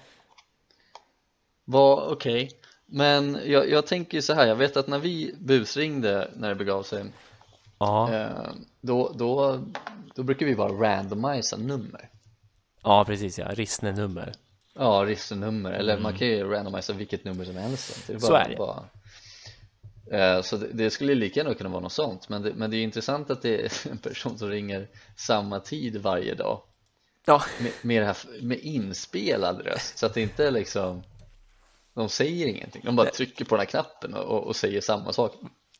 A: Vad, okej. Men jag, jag tänker ju så här, jag vet att när vi busringde när det begav sig,
B: Ja,
A: eh, då, då, då brukar vi bara randomisa nummer.
B: ja precis ja. Rissne-nummer.
A: Ja, ristenummer, eller man kan ju randomisa vilket nummer som helst. Det är bara,
B: Mm. Så är det.
A: Bara... Eh, Så det, det skulle lika gärna kunna vara något sånt, men det, men det är ju intressant att det är en person som ringer samma tid varje dag
B: Ja,
A: med, med, det här, f- med inspelad röst så att det inte är liksom de säger ingenting, de bara trycker på den här knappen och, och, och säger samma sak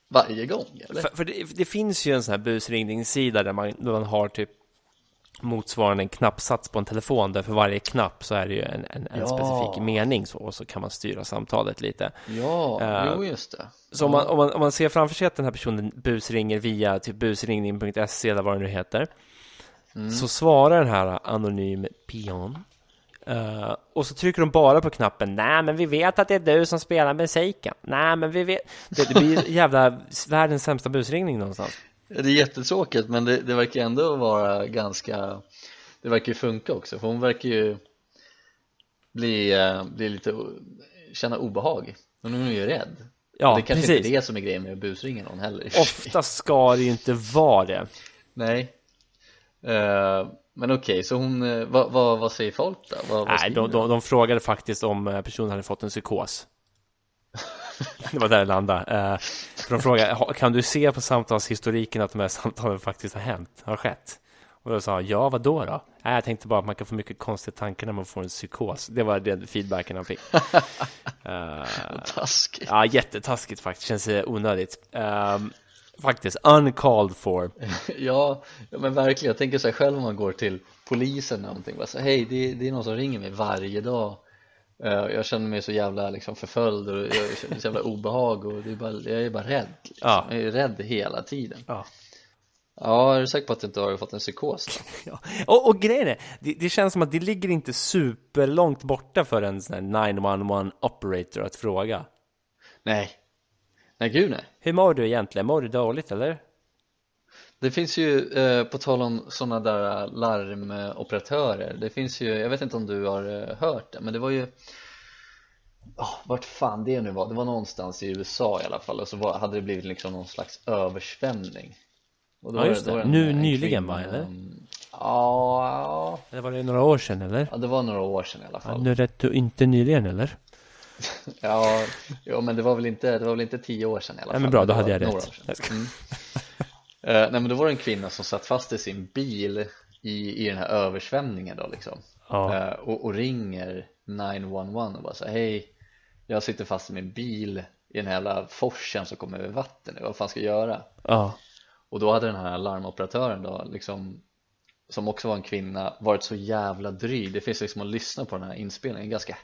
A: varje gång eller?
B: För, för det, det finns ju en sån här busringningssida där man, där man har typ motsvarande en knappsats på en telefon där för varje knapp så är det ju en, en, en
A: Ja.
B: specifik mening så, och så kan man styra samtalet lite.
A: Ja,
B: Eh,
A: jo just det
B: Så om man, om, man, om man ser framför sig att den här personen busringer via typ busringning.se eller vad det nu heter så svarar den här anonym pion eh, och så trycker de bara på knappen Nej men vi vet att det är du som spelar musiken Nej men vi vet Det, det blir ju jävla världens sämsta busringning någonstans
A: Det är jättetråkigt men det, det verkar ändå vara ganska Det verkar ju funka också för hon verkar ju bli, eh, bli lite, o- känna obehag Hon är ju rädd
B: Ja,
A: Det kanske
B: precis.
A: inte är det som är grejen med att busringa någon heller
B: Ofta ska det ju inte vara det.
A: Nej Eh, Men okej, så hon, eh, vad, vad, vad säger folk då? Vad, vad
B: Nej,
A: skriver
B: de, de, de frågade faktiskt om eh, personen hade fått en psykos. Det var där det landade. Eh, för De frågade, "Ha- kan du se på samtalshistoriken att de här samtalen faktiskt har hänt, har skett? Och då sa han, ja, vad då då? Nej, jag tänkte bara att man kan få mycket konstiga tankar när man får en psykos. Det var den feedbacken han fick. Eh,
A: Taskigt.
B: Ja, jättetaskigt faktiskt. Känns eh, onödigt. Eh, Faktiskt, uncalled for.
A: Ja, ja, men verkligen. Jag tänker så här själv om man går till polisen eller någonting. Bara så, här, Hej, det, det är någon som ringer mig varje dag. Eh, Jag känner mig så jävla liksom, förföljd och jag känner så jävla obehag och det är bara, jag är bara rädd. Liksom.
B: Ja.
A: Jag är rädd hela tiden.
B: Ja.
A: Ja, är du säker på att du inte har fått en psykos? Då?
B: Ja. Och, och grejen är, det, det känns som att det ligger inte superlångt borta för en sån här 911 operator att fråga.
A: Nej. Nej, gud nej.
B: Hur mår du egentligen? Mår du dåligt eller?
A: Det finns ju, eh, på tal om sådana där larmoperatörer, det finns ju, jag vet inte om du har eh, hört det, men det var ju oh, vart fan det nu var, det var någonstans i USA i alla fall och så var, hade det blivit liksom någon slags översvämning och
B: Ja, just det.
A: en-
B: Nu
A: en eh,
B: nyligen,
A: kvinna,
B: va, eller?
A: mm, Ja,
B: Eller var det några år sedan eller?
A: ja, det var några år sedan i alla
B: Ja,
A: fall
B: nu rätt du inte nyligen eller?
A: Ja, ja men det var väl inte, det var väl inte tio år sedan i alla fall
B: Nej men bra,
A: men
B: då
A: det
B: hade
A: var
B: jag
A: några
B: rätt.
A: år sedan. Mm. Eh, nej men då var det en kvinna som satt fast i sin bil i, i den här översvämningen då liksom
B: Ja.
A: Eh, och, och ringer 911 och bara så här, hej jag sitter fast i min bil i den här jävla forsen som kommer över vatten nu, vad fan ska jag göra?
B: Ja.
A: Och då hade den här larmoperatören då liksom som också var en kvinna varit så jävla dryg det finns liksom att lyssna på den här inspelningen ganska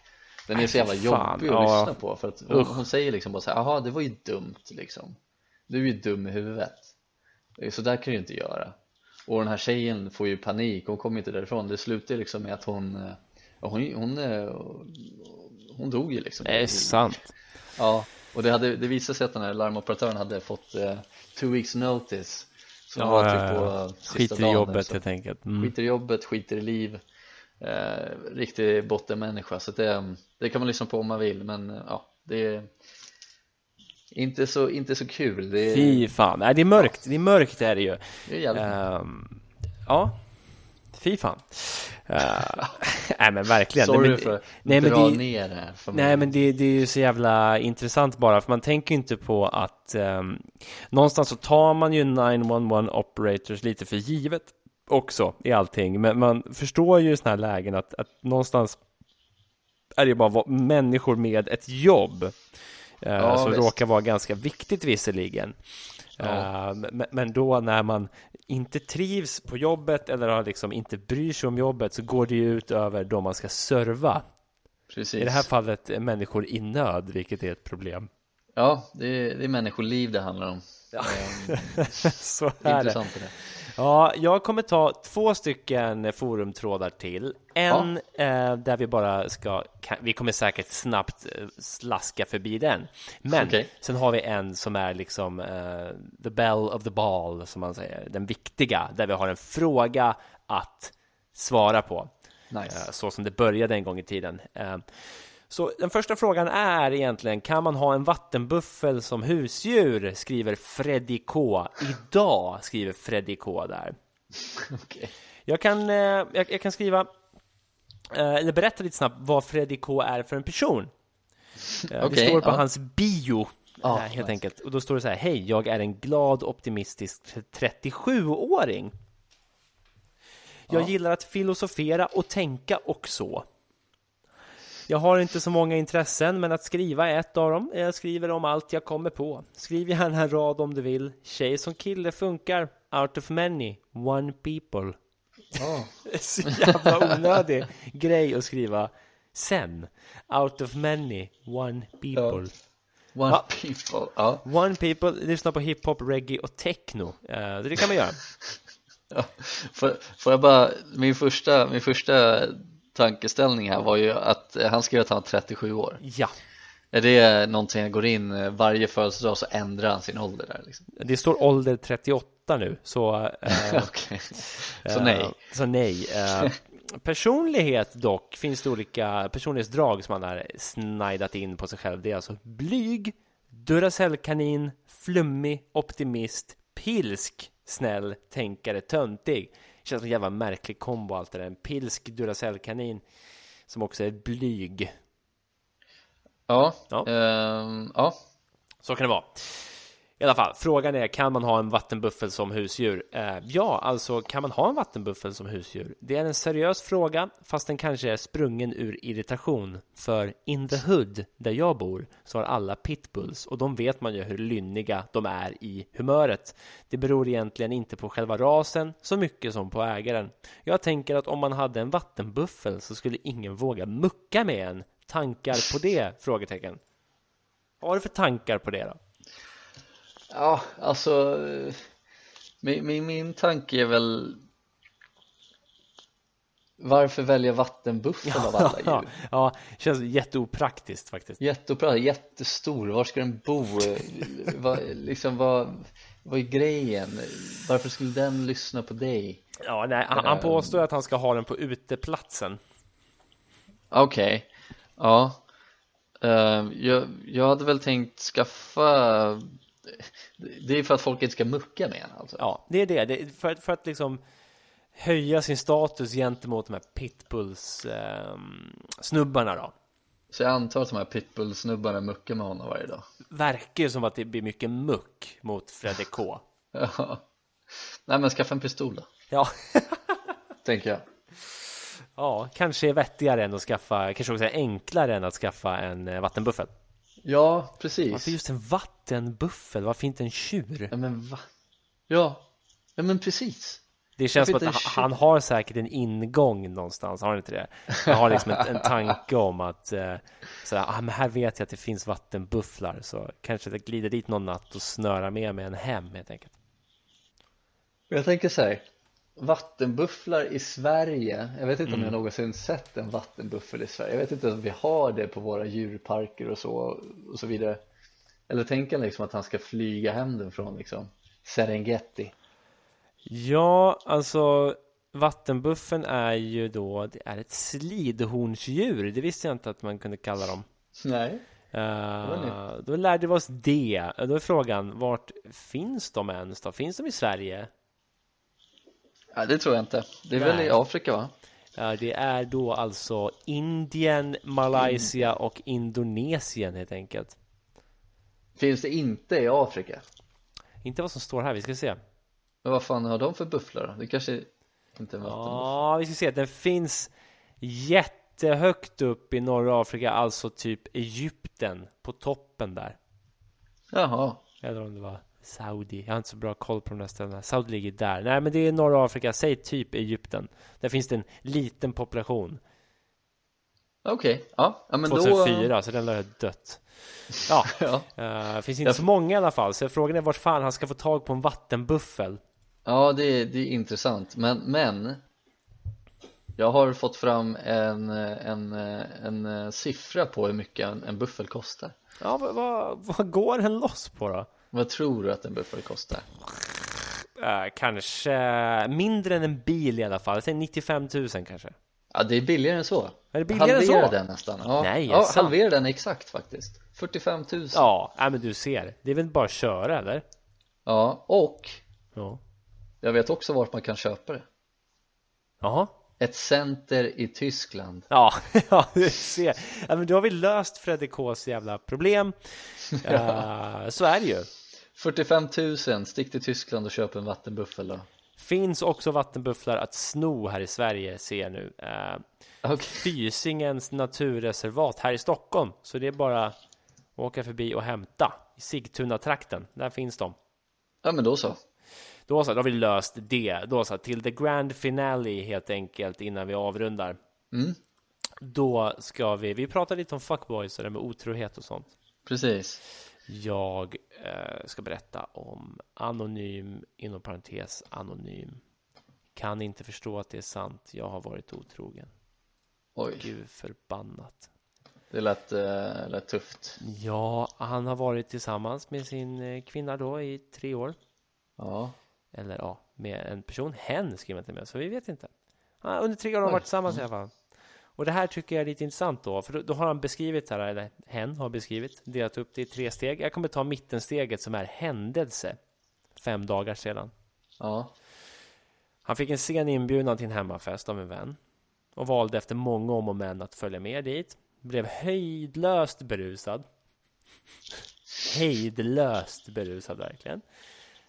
A: den är så jävla
B: fan,
A: jobbig att
B: ja.
A: lyssna på för att hon,
B: Usch.
A: hon säger liksom bara så här, jaha det var ju dumt liksom du är ju dum i huvudet så där kan du ju inte göra och den här tjejen får ju panik, hon kommer inte därifrån det slutar ju liksom med att hon eh, hon, hon, eh, hon dog ju liksom
B: Det är sant.
A: Ja, och det, hade, det visade sig att den här larmoperatören hade fått eh, two weeks notice som var
B: Ja,
A: typ på
B: ja, ja.
A: eh, sista
B: Skit i
A: dagen
B: jobbet
A: så.
B: helt enkelt. Mm.
A: Skiter i jobbet, skiter i liv eh, Riktig bottenmänniska så att det, det kan man lyssna på om man vill men eh, ja, det är inte så, inte så kul Det är,
B: Fy fan. Nej, det är mörkt. Det är mörkt det är det ju.
A: det är jävligt
B: Ehm, ja. Fy fan. Eh, nej men verkligen.
A: Sorry
B: nej, men,
A: för att
B: nej, men
A: dra
B: det,
A: ner det här för
B: Nej men det, det är ju så jävla intressant bara för man tänker ju inte på att ehm, någonstans så tar man ju 911 operators lite för givet också i allting men man förstår ju i sådana här lägen att, att någonstans är det ju bara vad- människor med ett jobb eh,
A: Ja,
B: som
A: visst.
B: råkar vara ganska viktigt visserligen. Eh, men, men då när man inte trivs på jobbet eller har liksom inte bryr sig om jobbet så går det ju ut över de man ska serva.
A: Precis.
B: I det här fallet är människor i nöd, vilket är ett problem.
A: Ja, det är, det är människoliv det handlar om Ehm,
B: Så
A: det är
B: är det.
A: Intressant är det
B: Ja, jag kommer ta två stycken eh, forumtrådar till. En eh, där vi bara ska, kan, vi kommer säkert snabbt eh, slaska förbi den. Men
A: Okej.
B: sen har vi en som är liksom eh, the bell of the ball, som man säger, den viktiga, där vi har en fråga att svara på.
A: Nice,
B: Eh, så som det började en gång i tiden. Eh, Så den första frågan är egentligen, kan man ha en vattenbuffel som husdjur? Skriver Freddy K. Idag skriver Freddy K där.
A: okej
B: Jag kan, eh, jag, jag kan skriva, eh, eller berätta lite snabbt vad Freddy K är för en person. Eh,
A: Okej,
B: det står på
A: ja. Ah,
B: hans bio.
A: Ja,
B: eh, helt enkelt. Och då står det så här, hej, jag är en glad optimistisk 37-åring. Jag gillar att filosofera och tänka och så. Jag har inte så många intressen, men att skriva är ett av dem. Jag skriver om allt jag kommer på. Skriv gärna en rad om du vill. Tjej som kille funkar. Out of many, one people.
A: Ja.
B: Så jävla onödig grej att skriva sen. Out of many, one people.
A: One
B: Ja.
A: people, ja
B: One people, lyssna på hiphop, reggae och techno. Eh, det kan man göra.
A: Ja, får, får jag bara, min första, min första tankeställning här var ju att eh, han skrev att han var 37 år.
B: Ja,
A: Är det någonting han går in eh, varje födelsedag så ändrar han sin ålder där liksom?
B: det står ålder 38 nu, så... eh,
A: Okej, så nej.
B: Eh, Så nej. Eh, Personlighet dock, finns det olika personlighetsdrag som man har snajdat in på sig själv. Det är alltså blyg, Duracellkanin, flummig, optimist, pilsk, snäll, tänkare, töntig. Känns som en jävla märklig kombo allt det där. En pilsk Duracellkanin som också är blyg.
A: Ja,
B: Ja.
A: ehm, ja.
B: Så kan det vara. I alla fall, frågan är kan man ha en vattenbuffel som husdjur? Eh, ja, alltså kan man ha en vattenbuffel som husdjur? Det är en seriös fråga, fast den kanske är sprungen ur irritation. För in the hood, där jag bor, så har alla pitbulls och de vet man ju hur lynniga de är i humöret. Det beror egentligen inte på själva rasen så mycket som på ägaren. Jag tänker att om man hade en vattenbuffel så skulle ingen våga mucka med en. Tankar på det? Frågetecken. Vad har du för tankar på det då?
A: Ja, alltså eh, min, min, min tanke är väl Varför välja vattenbuffel av alla
B: ja,
A: djur?
B: ja, känns jätteopraktiskt faktiskt.
A: Jättebra, jättestor, var ska den bo? vad, liksom, vad, vad är grejen? Varför skulle den lyssna på dig?
B: Ja, nej, han, han påstår att han ska ha den på uteplatsen.
A: Okej, ja Ehm, jag, jag hade väl tänkt skaffa Det är för att folk inte ska mucka med en alltså
B: Ja, det är det. det är för, att- för att liksom höja sin status gentemot de här pitbulls ehm, snubbarna då.
A: Så jag antar att de här pitbull-snubbarna muckar med honom varje dag
B: Verkar ju som att det blir mycket muck mot Fredde K.
A: Ja. Nej men skaffa en pistol då,
B: Ja,
A: tänker jag
B: ja, kanske är vettigare än att skaffa, kanske också är enklare än att skaffa en eh, vattenbuffel.
A: Ja, precis
B: Varför just en vattenbuffel? Varför inte en tjur?
A: Ja men va? Ja, ja men precis
B: Det känns som
A: Varför
B: att han,
A: inte en
B: han har säkert en ingång någonstans, har han inte det? Han har liksom en, en tanke om att eh, sådär, ah, men här vet jag att det finns vattenbufflar så kanske jag glider dit någon natt och snörar med mig en hem helt enkelt.
A: Och Jag tänker så här Vattenbufflar i Sverige Jag vet inte om jag någonsin sett en vattenbuffel i Sverige Jag vet inte om vi har det på våra djurparker och så och så vidare Eller tänker han liksom att han ska flyga hem den från liksom Serengeti
B: Ja, alltså vattenbuffen är ju då, det är ett slidhornsdjur, det visste jag inte att man kunde kalla dem.
A: Nej
B: Eh, då lärde vi oss det. Då är frågan, vart finns de ens då? Finns de i Sverige?
A: ja, det tror jag inte Det är väl
B: Nej.
A: i Afrika va?
B: Ja, Eh, det är då alltså Indien, Malaysia och Indonesien helt enkelt.
A: Finns det inte i Afrika?
B: Inte vad som står här, vi ska se.
A: Men vad fan har de för bufflar då? Det kanske inte är en vattenbuffla
B: Ja, vi ska se. Den finns jättehögt upp i norra Afrika, alltså typ Egypten på toppen där.
A: Jaha
B: Eller om det var Saudi. Jag har inte så bra koll på de där ställena. Saudi ligger där. Nej, men det är norra Afrika. Säg typ Egypten. Där finns det en liten population.
A: Okej, ja, ja men då
B: 2004, så den har dött. Ja,
A: Ja,
B: Eh, finns inte så många i alla fall, så frågan är vart fan han ska få tag på en vattenbuffel.
A: Ja, det är, det är intressant, men, men jag har fått fram en, eh, en, eh, en eh, siffra på hur mycket en, en buffel kostar.
B: Ja, vad, vad, vad går den loss på då?
A: Vad tror du att en buffel kostar?
B: Eh, kanske mindre än en bil i alla fall, säg 95 000 kanske.
A: Ja, det är billigare än så.
B: Är det billigare än så?
A: halvera den nästan. Ja,
B: Nej, är det
A: ja
B: sant?
A: halvera den exakt faktiskt. 45 000. Ja,
B: Ja, nej, men du ser, det är väl bara att köra eller?
A: och
B: Ja.
A: jag vet också vart man kan köpa det.
B: Jaha.
A: Ett center i Tyskland.
B: Ja, ja, du ser. Ja, men då har vi löst Fredde Ks jävla problem. Eh, så är det ju.
A: 45 000, stick till Tyskland och köp en vattenbuffel då.
B: Finns också vattenbufflar att sno här i Sverige, ser jag nu. Eh,
A: Okej,
B: Fysingens naturreservat här i Stockholm. Så det är bara att åka förbi och hämta. I Sigtuna-trakten, där finns de.
A: ja men då så.
B: Då så, då har vi löst det. Då så, till the grand finale helt enkelt innan vi avrundar. Då ska vi, vi pratar lite om fuckboys och det med otrohet och sånt.
A: Precis.
B: Jag eh, ska berätta om anonym, inom parentes anonym. Kan inte förstå att det är sant. Jag har varit otrogen.
A: Oj,
B: Gud förbannat.
A: det lät, eh, lät tufft.
B: Ja, han har varit tillsammans med sin eh, kvinna då i tre år.
A: Ja,
B: Eller ja, med en person. Hen skriver inte med, så vi vet inte. Ja, under tre år har de varit tillsammans i alla fall. Och det här tycker jag är lite intressant då, för då, då har han beskrivit här, eller hen har beskrivit, delat upp det i tre steg. Jag kommer ta mittensteget som är händelse, fem dagar sedan.
A: ja.
B: Han fick en sen inbjudan till en hemmafest av en vän och valde efter många om och men att följa med dit. Blev höjdlöst berusad. Hejdlöst berusad verkligen.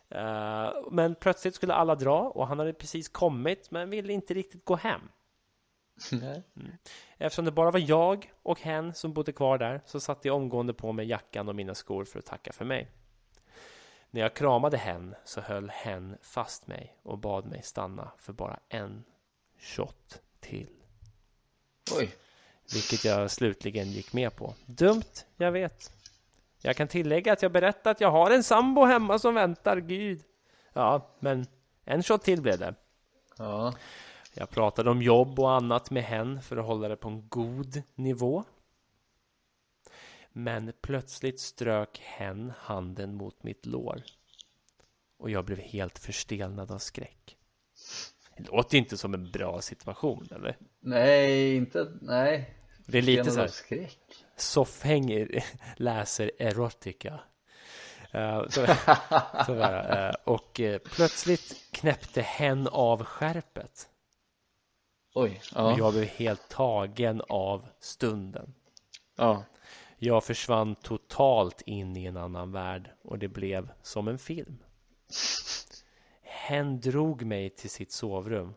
B: Eh, Men plötsligt skulle alla dra och han hade precis kommit men ville inte riktigt gå hem.
A: Nej.
B: Eftersom det bara var jag och hen som bodde kvar där så satte jag omgående på mig jackan och mina skor för att tacka för mig. När jag kramade hen så höll hen fast mig och bad mig stanna för bara en shot till.
A: Oj,
B: Vilket jag slutligen gick med på. Dumt, jag vet. Jag kan tillägga att jag berättat att jag har en sambo hemma som väntar, gud. Ja, men en shot till blev det.
A: ja,
B: Jag pratade om jobb och annat med hen för att hålla det på en god nivå. Men plötsligt strök hen handen mot mitt lår. Och jag blev helt förstelnad av skräck. Det låter ju inte som en bra situation, eller?
A: Nej, inte, nej
B: Det är lite
A: Genom
B: så här,
A: skräck
B: soffhäng läser erotica. Eh, så, så bara, eh, och eh, plötsligt knäppte hen av skärpet.
A: Oj,
B: Och
A: ja, ja.
B: jag blev helt tagen av stunden. Jag försvann totalt in i en annan värld och det blev som en film. Hen drog mig till sitt sovrum.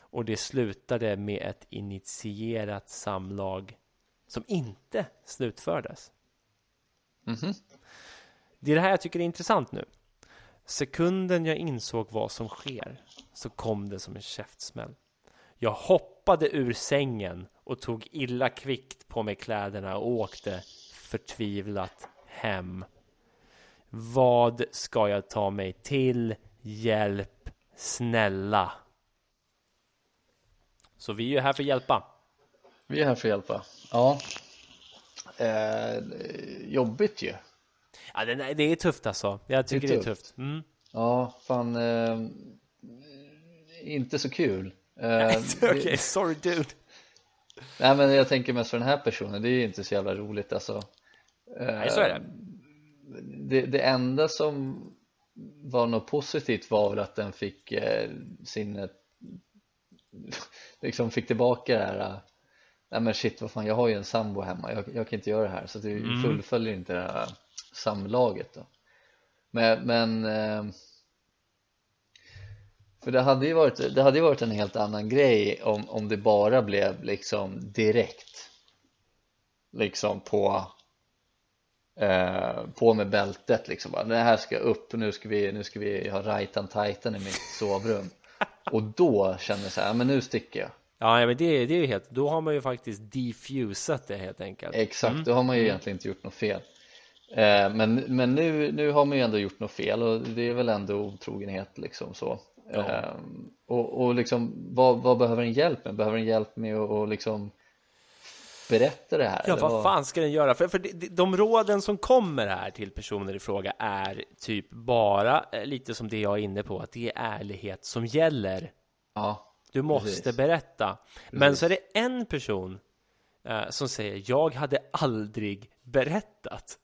B: Och det slutade med ett initierat samlag som inte slutfördes.
A: Mhm.
B: Det är det här jag tycker är intressant nu. Sekunden jag insåg vad som sker så kom det som en käftsmäll. Jag hoppade ur sängen och tog illa kvickt på mig kläderna och åkte förtvivlat hem. Vad ska jag ta mig till? Hjälp, snälla. Så vi är ju här för att hjälpa.
A: Vi är här för att hjälpa Ja eh, Jobbigt ju
B: Ja, det, nej, det är tufft alltså. Jag tycker det är tufft.
A: tufft.
B: Mm.
A: Ja, fan eh, Inte så kul eh,
B: Okej, sorry dude.
A: Nej men jag tänker mest för den här personen, det är ju inte så jävla roligt alltså
B: Nej, så är det.
A: det, det enda som var något positivt var väl att den fick eh, sin eh, liksom fick tillbaka det här eh, nej men shit vad fan jag har ju en sambo hemma jag, jag kan inte göra det här så att du fullföljer inte det här samlaget då men, men eh, för det hade ju varit, det hade ju varit en helt annan grej om, om det bara blev liksom direkt liksom på eh, på med bältet liksom bara, det här ska upp, nu ska vi, nu ska vi ha rajtan tajtan i mitt sovrum och då känner jag så här, men nu sticker jag
B: Ja, ja, men det, det är ju helt, då har man ju faktiskt defusat det helt enkelt.
A: Exakt, då har man
B: Mm.
A: ju egentligen inte gjort något fel eh, men, men nu, nu har man ju ändå gjort något fel och det är väl ändå otrogenhet liksom så eh, och, och liksom, vad, vad behöver en hjälp med? Behöver en hjälp med att och liksom berätta det här?
B: Ja,
A: eller
B: vad fan ska den göra? För, för de, de- de råden som kommer här till personer i fråga är typ bara eh, lite som det jag är inne på, att det är ärlighet som gäller.
A: Ja,
B: Du måste
A: Precis.
B: berätta. Men så är det en person eh, som säger, jag hade aldrig berättat.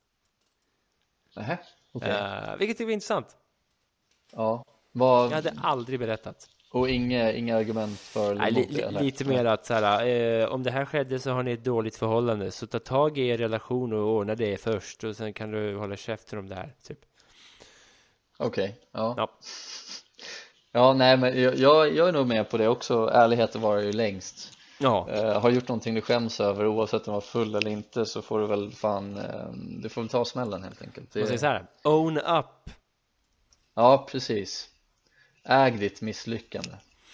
A: nähä, okej
B: Eh, vilket är intressant.
A: ja.
B: Jag
A: Vad,
B: hade aldrig berättat.
A: och inga, inga argument för eller
B: Nej, li,
A: emot det,
B: li,
A: eller?
B: lite mer att så här, eh, om det här skedde så har ni ett dåligt förhållande, så ta tag i er relation och ordna det först och sen kan du hålla käften om det här. Typ.
A: Okej, ja.
B: Ja.
A: ja. nej men jag, jag, jag är nog med på det också. Ärligheten varar ju längst.
B: Ja,
A: Eh, har gjort någonting du skäms över, oavsett om du var full eller inte, så får du väl fan, eh, du får väl ta smällen helt enkelt. Det-
B: man säger så här, own up.
A: Ja, precis. Äg ditt misslyckande.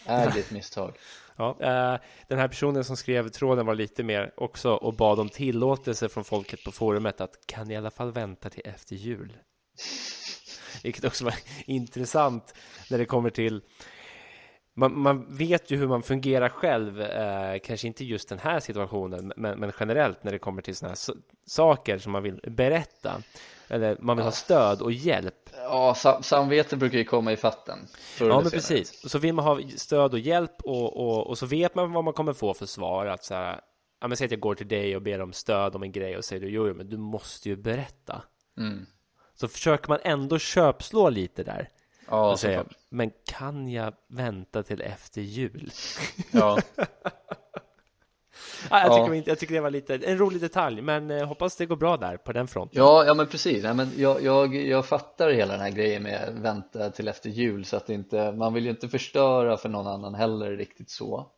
A: Äg ditt misstag.
B: Ja. eh, Den här personen som skrev tråden var lite mer också och bad om tillåtelse från folket på forumet att kan i alla fall vänta till efter jul. Vilket också var intressant när det kommer till man, man vet ju hur man fungerar själv, eh, kanske inte just den här situationen, men, men generellt när det kommer till sådana här s- saker som man vill berätta. Eller man vill ha stöd och hjälp.
A: Ja, sam samvete brukar ju komma i fatten. förr eller
B: Ja, men
A: senare.
B: precis. Och så vill man ha stöd och hjälp och, och, och så vet man vad man kommer få för svar. Att så här, ja, men säg att jag går till dig och ber om stöd om en grej och säger du jo, jo men du måste ju berätta.
A: Mm.
B: Så försöker man ändå köpslå lite där.
A: Ja,
B: och säga,
A: såklart.
B: men kan jag vänta till efter jul?
A: ja.
B: Ja, Ah, jag,
A: Ja.
B: tycker, inte- jag tycker det var lite, en rolig detalj, men eh, hoppas det går bra där på den fronten.
A: Ja, ja men precis. Nej, men jag, jag, jag fattar hela den här grejen med vänta till efter jul så att det inte, man vill ju inte förstöra för någon annan heller riktigt så.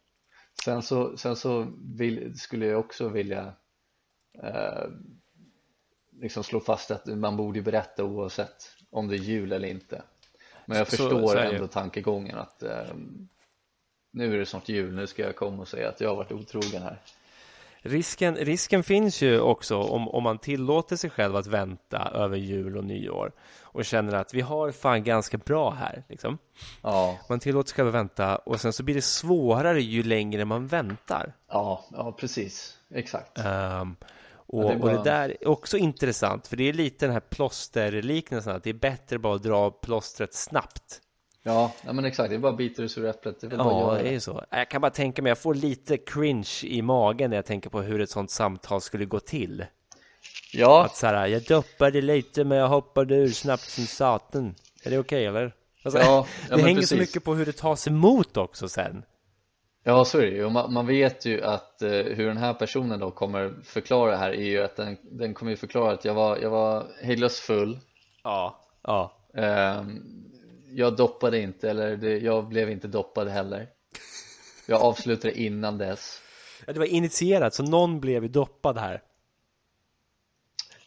A: Sen så, sen så vill, skulle jag också vilja eh, liksom slå fast att man borde ju berätta oavsett om det är jul eller inte. Men jag
B: Så-
A: förstår
B: så är det ju.
A: ändå tankegången att eh, nu är det snart jul, nu ska jag komma och säga att jag har varit otrogen här.
B: Risken, risken finns ju också om, om man tillåter sig själv att vänta över jul och nyår och känner att vi har fan ganska bra här. Liksom.
A: Ja,
B: Man tillåter sig själv att vänta och sen så blir det svårare ju längre man väntar.
A: ja, ja precis. Exakt.
B: Ehm,
A: Ja, det
B: och, det
A: är
B: och
A: bara-
B: det där är också intressant, för det är lite den här plåsterliknelsen, att det är bättre bara att dra plåstret snabbt.
A: Ja, ja men exakt. Det är bara biter ur sura äpplet. Det är väl bara
B: Ja, eh,
A: att
B: det är
A: göra.
B: ju så. Jag kan bara tänka mig, jag får lite cringe i magen när jag tänker på hur ett sånt samtal skulle gå till.
A: Ja,
B: Att så här, jag doppade lite men jag hoppade ur snabbt som satan. Är det okej eller? Alltså,
A: Ja, ja,
B: det
A: men
B: hänger så
A: precis.
B: mycket på hur det tas emot också sen.
A: ja, så är det ju. Och Man, man vet ju att eh, hur den här personen då kommer förklara det här är ju att den, den kommer ju förklara att jag var, jag var hejdlöst full.
B: Ja. Ja.
A: Ehm, jag doppade inte, eller det, jag blev inte doppad heller. Jag avslutade innan dess.
B: Ja, Det var initierat, så någon blev ju doppad här.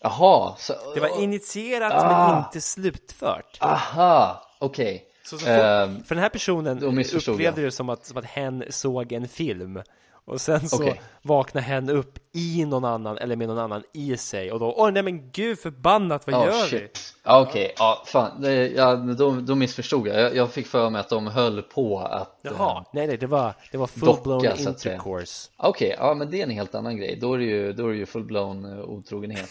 A: Jaha, så,
B: Det var initierat men
A: Ah.
B: inte slutfört.
A: aha, okej.
B: Så, så fort,
A: Ehm,
B: för den här personen
A: då missförstod
B: upplevde det som att, som att hen såg en film. Och sen så
A: Okej.
B: vaknar hen upp i någon annan, eller med någon annan i sig. Och då, åh nej men gud förbannat, vad
A: Ja,
B: gör vi?
A: Ah, shit. Ja, okej, ja, fan, det, ja, då, då missförstod jag. jag. Jag fick för mig att de höll på att... eh,
B: Jaha, nej nej, det var, det var
A: Docka,
B: full-blown
A: så att säga.
B: intercourse.
A: Okej, ja men det är en helt annan grej. Då är det ju, då är det ju full-blown eh, otrogenhet.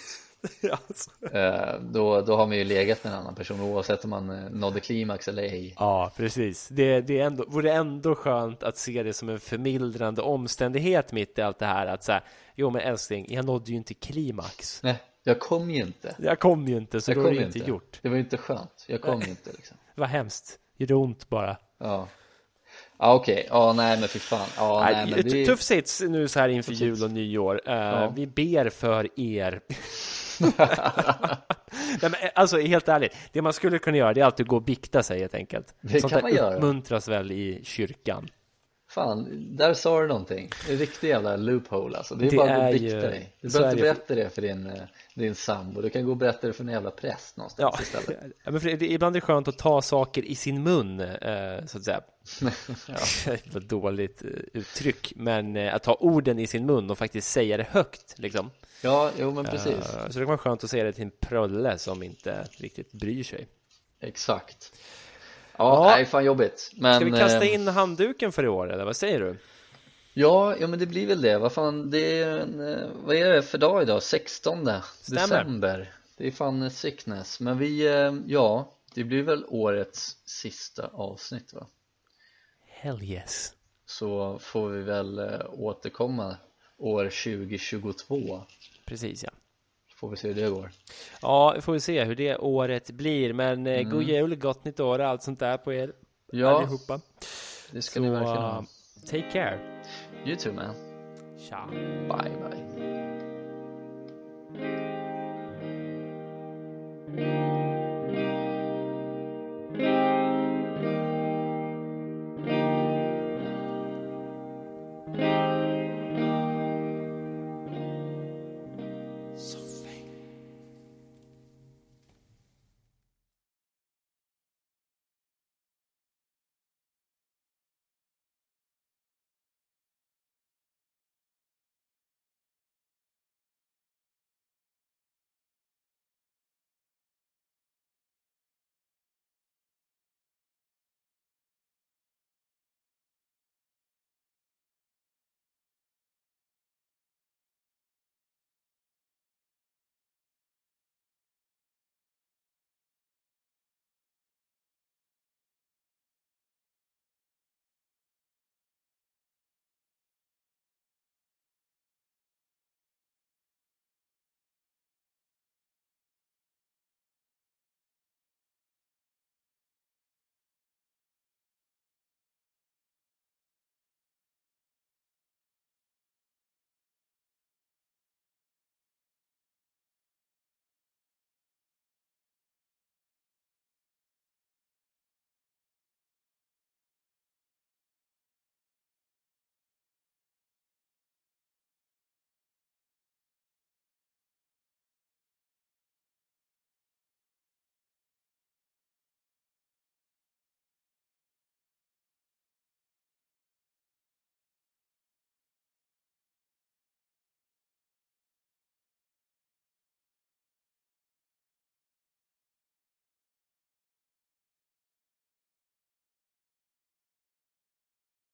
B: Ja, alltså.
A: Eh, då, då har man ju legat med en annan person oavsett om man eh, nådde klimax eller ej.
B: Ja, precis. Det, det är ändå, vore ändå skönt att se det som en förmildrande omständighet mitt i allt det här. Att så här, jo men älskling, jag nådde ju inte klimax.
A: Nej, jag kom ju inte.
B: Jag kom ju inte, så
A: Jag
B: då
A: kom
B: är det
A: ju
B: inte gjort.
A: Det var ju inte skönt. Jag kom ju inte liksom.
B: Vad hemskt. Gjorde ont bara.
A: Ja. Ja okej, ja nej men fy fan. Ja, nej,
B: Nej,
A: men det...
B: Tuff sits nu så här inför jul och nyår. Eh, Vi ber för er. Nej, men, eh, alltså helt ärligt, det man skulle kunna göra det är alltid gå och bikta sig helt enkelt.
A: Det
B: Sånt
A: kan
B: där
A: man göra.
B: uppmuntras väl i kyrkan.
A: Fan, där sa du någonting. En riktig jävla loophole alltså. Det är
B: Det
A: bara att gå
B: är
A: och
B: ju-
A: bikta dig. Du
B: så
A: behöver inte
B: är det.
A: berätta det för din, eh, din sambo. Du kan gå och berätta det för en jävla präst någonstans
B: Ja.
A: istället.
B: Ja, men för det, ibland är det skönt att ta saker i sin mun, eh, så att säga. Vad dåligt eh, uttryck, men eh, att ta orden i sin mun och faktiskt säga det högt. Liksom.
A: Ja, jo men precis.
B: Eh, så det kan vara skönt att säga det till en prölle som inte riktigt bryr sig.
A: Exakt. Ja,
B: Ja.
A: nej fan jobbigt. Men,
B: Ska vi kasta
A: eh,
B: in handduken för i år eller vad säger du?
A: Ja, ja men det blir väl det. Vad fan, det är en, eh, vad är det för dag idag? 16
B: Stämmer.
A: december. Det är fan eh, sickness. Men vi, eh, ja, det blir väl årets sista avsnitt va?
B: Hell yes.
A: Så får vi väl eh, återkomma år 2022.
B: Precis ja.
A: Får vi se hur det går.
B: Ja, vi får vi se hur det året blir. Men eh, god jul, gott nytt år och allt sånt där på er
A: Mm. Ja,
B: allihopa.
A: det ska
B: Så,
A: ni verkligen ha.
B: eh, take care.
A: You too man.
B: Ciao.
A: Bye bye.